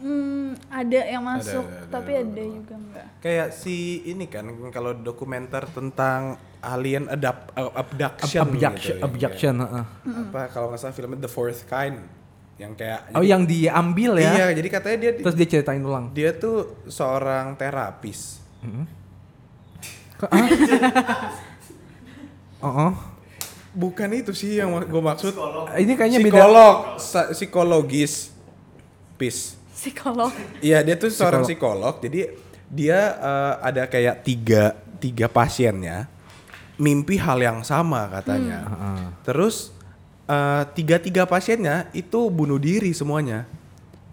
hmm, ada yang masuk
ada, ada,
tapi
ada,
ada, juga enggak
kayak si ini kan kalau dokumenter tentang alien adap, uh, abduction
Ab- Abduction,
gitu, yang
abduction. heeh.
kayak- apa kalau nggak salah filmnya The Fourth Kind yang kayak
Oh
jadi-
yang diambil ya?
iya jadi katanya dia
Terus dia ceritain ulang.
dia tuh seorang terapis
Oh, oh.
bukan itu sih yang gue maksud
ini kayaknya beda.
psikolog sa- psikologis pis
psikolog
Iya dia tuh seorang psikolog. Jadi dia eh, ada kayak tiga tiga pasiennya mimpi hal yang sama katanya. Terus eh, tiga tiga pasiennya itu bunuh diri semuanya.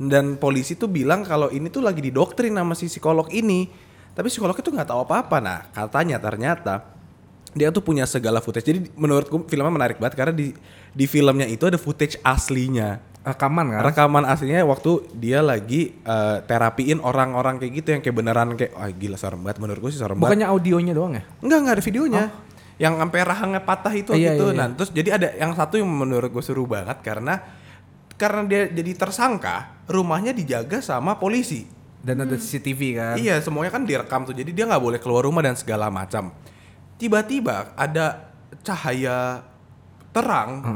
Dan polisi tuh bilang kalau ini tuh lagi didoktrin sama si psikolog ini. Tapi psikolog itu nggak tahu apa-apa. Nah katanya ternyata dia tuh punya segala footage. Jadi menurutku filmnya menarik banget karena di di filmnya itu ada footage aslinya
Rekaman kan?
rekaman aslinya waktu dia lagi eh, terapiin orang-orang kayak gitu yang kayak beneran kayak wah gila serem banget menurut gue sih serem banget.
Bukannya audionya doang ya?
Enggak enggak ada videonya. Yang sampai rahangnya patah itu
Iya,
gitu.
iya,
Nah, terus jadi ada yang satu yang menurut gue seru banget karena karena dia jadi tersangka, rumahnya dijaga sama polisi.
Dan ada CCTV kan?
Iya, semuanya kan direkam tuh. Jadi dia nggak boleh keluar rumah dan segala macam. Tiba-tiba ada cahaya terang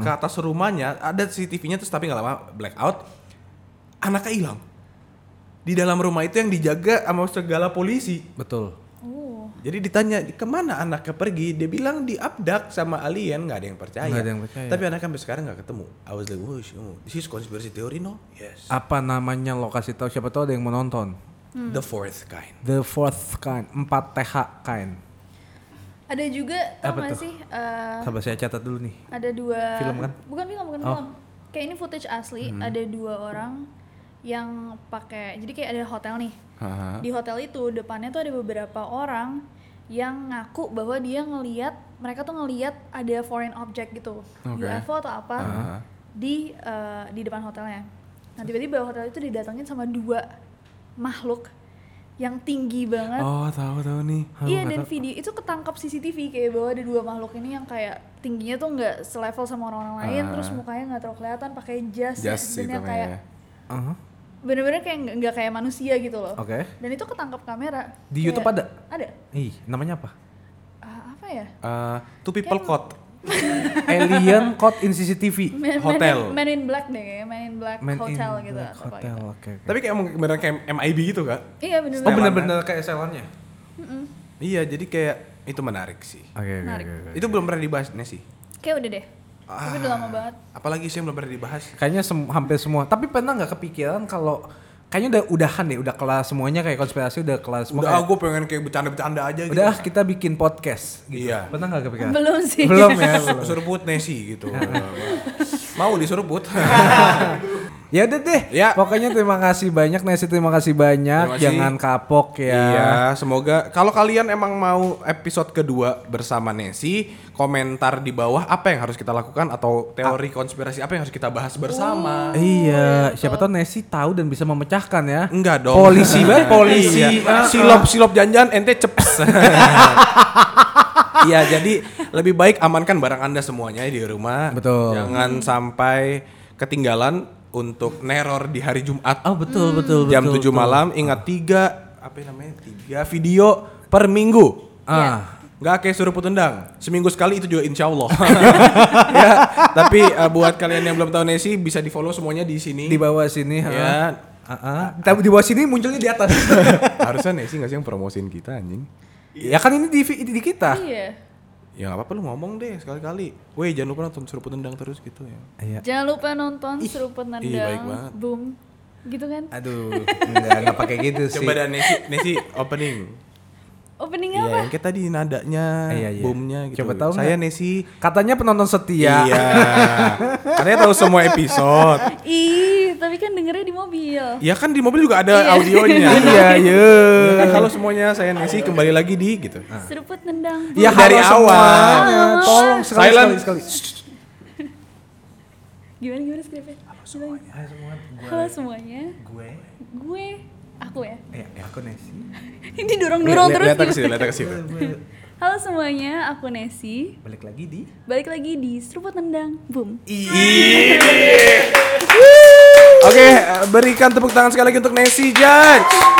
Hmm.
ke atas rumahnya, ada CCTV-nya terus tapi nggak lama blackout. Anaknya hilang. Di dalam rumah itu yang dijaga sama segala polisi.
Betul.
oh
Jadi ditanya kemana anaknya pergi, dia bilang diabdak sama alien, nggak ada yang percaya.
Nggak ada yang percaya.
Tapi anaknya sampai sekarang nggak ketemu. I was like, "Whoa, oh, this is conspiracy theory, no? Yes.
Apa namanya lokasi tahu siapa tahu ada yang mau nonton.
The fourth kind.
The fourth kind, 4 TH kind.
ada juga tau
Apa
gak
tuh?
sih eh,
Sabar saya catat dulu nih.
ada dua
Film kan?
bukan film bukan
Oh. Hmm.
film kayak ini footage asli ada dua orang yang pakai jadi kayak ada hotel nih di hotel itu depannya tuh ada beberapa orang yang ngaku bahwa dia ngeliat mereka tuh ngeliat ada foreign object gitu
Oke.
UFO atau apa
Ah.
Aha.
di eh, di depan hotelnya nah tiba-tiba hotel itu didatengin sama dua makhluk yang tinggi banget
Oh, tahu-tahu nih.
Hah,
Iya
nggak
dan
tahu.
video itu ketangkap CCTV kayak bahwa ada dua makhluk ini yang kayak tingginya tuh nggak selevel sama orang-orang lain
Ah.
terus mukanya nggak terlalu kelihatan pakai jas dan
Jas itu
gitu
yang kayak
ya.
namanya.
Aha,
bener-bener kayak nggak- nggak kayak manusia gitu loh
Oke.
dan itu ketangkap kamera
Di
Kayak-
YouTube ada?
ada
Ih, namanya apa?
Ah, apa ya
Eh, two people caught.
Alien Caught in CCTV.
Man- Man in-
Hotel.
Man in, Black deh kayaknya Man in Black
Man in
Hotel gitu
Black
atau apa
Hotel,
gitu.
oke. oke.
Tapi kayak emang beneran kayak MIB gitu kak?
iya bener-bener
Oh benar-benar kayak SLR-nya.
Iya, jadi kayak itu menarik sih.
Oke, oke,
Menarik.
oke.
Itu belum pernah dibahas nih sih.
kayak udah deh tapi udah
Ah,
lama banget
Apalagi sih yang belum pernah dibahas.
Kayaknya sem- hampir semua. Tapi pernah nggak kepikiran kalau kayaknya udah udahan deh, udah kelas semuanya kayak konspirasi udah kelas semua.
Udah,
kayak-
ah, gue pengen kayak bercanda-bercanda aja gitu.
udah ah, kita bikin podcast gitu.
Iya.
Pernah nggak kepikiran?
belum sih
Belum ya. <laughs>
Sur- Suruh put Nesi gitu. Mau disuruh put. <laughs>
Ya udah deh.
Ya.
Pokoknya terima kasih banyak Nasi, terima kasih banyak.
Terima kasih.
Jangan kapok ya.
Iya, semoga kalau kalian emang mau episode kedua bersama Nesi, komentar di bawah apa yang harus kita lakukan atau
Ah.
teori konspirasi apa yang harus kita bahas bersama. Eh,
Iya, siapa tahu Nesi tahu dan bisa memecahkan ya.
Enggak dong.
Polisi
<laughs>
banget polisi. Ah,
Iya. Silop silop janjian ente
<laughs>
ceps. Iya jadi lebih baik amankan barang anda semuanya di rumah.
Betul.
Jangan sampai ketinggalan untuk neror di hari Jumat
ah. Oh, betul betul
jam
betul, betul.
7 malam. Ingat tiga apa namanya tiga video per minggu.
Ah.
Nggak kayak suruh tendang Seminggu sekali itu juga insya Allah <laughs> ya, Tapi eh, buat kalian yang belum tahu Nesi Bisa di follow semuanya di sini
Di bawah sini ha.
ya
Ah,
<laughs>
ah. Iya. Di bawah sini munculnya di atas.
Harusnya Nessie nggak sih yang promosiin kita anjing?
<laughs> ya kan ini di, di, di kita.
Iya.
Ya nggak apa-apa lu ngomong deh sekali-kali. Weh jangan lupa nonton Seruput Tendang terus gitu ya.
Iya.
Jangan lupa nonton Seruput Nendang.
ih, iya, baik banget. Ah,
Boom. Gitu kan?
Aduh, enggak enggak pakai gitu sih.
Coba dan Nessie, Nessie opening.
Opening
Iya,
apa?
yang kayak tadi nadanya,
Iya, iya.
boomnya gitu.
Coba tahu
Saya
nggak?
Nessie.
Katanya penonton setia. <laughs>
Iya. Katanya tahu semua episode.
Ih, tapi kan dengernya di mobil.
Ya kan di mobil juga ada
Iya.
audionya.
Iya, iya.
Ya kan, halo semuanya, saya Nessie kembali lagi di gitu.
Seruput nendang.
Ya
Boom.
dari
Dari
awal.
awal.
Tolong sekali
Silent.
sekali sekali.
Gimana gimana skripnya? Halo semuanya.
ya,
Halo semuanya.
Gue
Gue aku ya. <laughs>
eh aku Nesi.
Ini dorong-dorong terus.
Lihat ke
gitu.
situ, lihat ke situ.
Halo semuanya, aku Nesi.
Balik lagi di
Balik lagi di Seruput Nendang. Boom.
Iya.
Oke, eh, berikan tepuk tangan sekali lagi untuk Nessie Judge.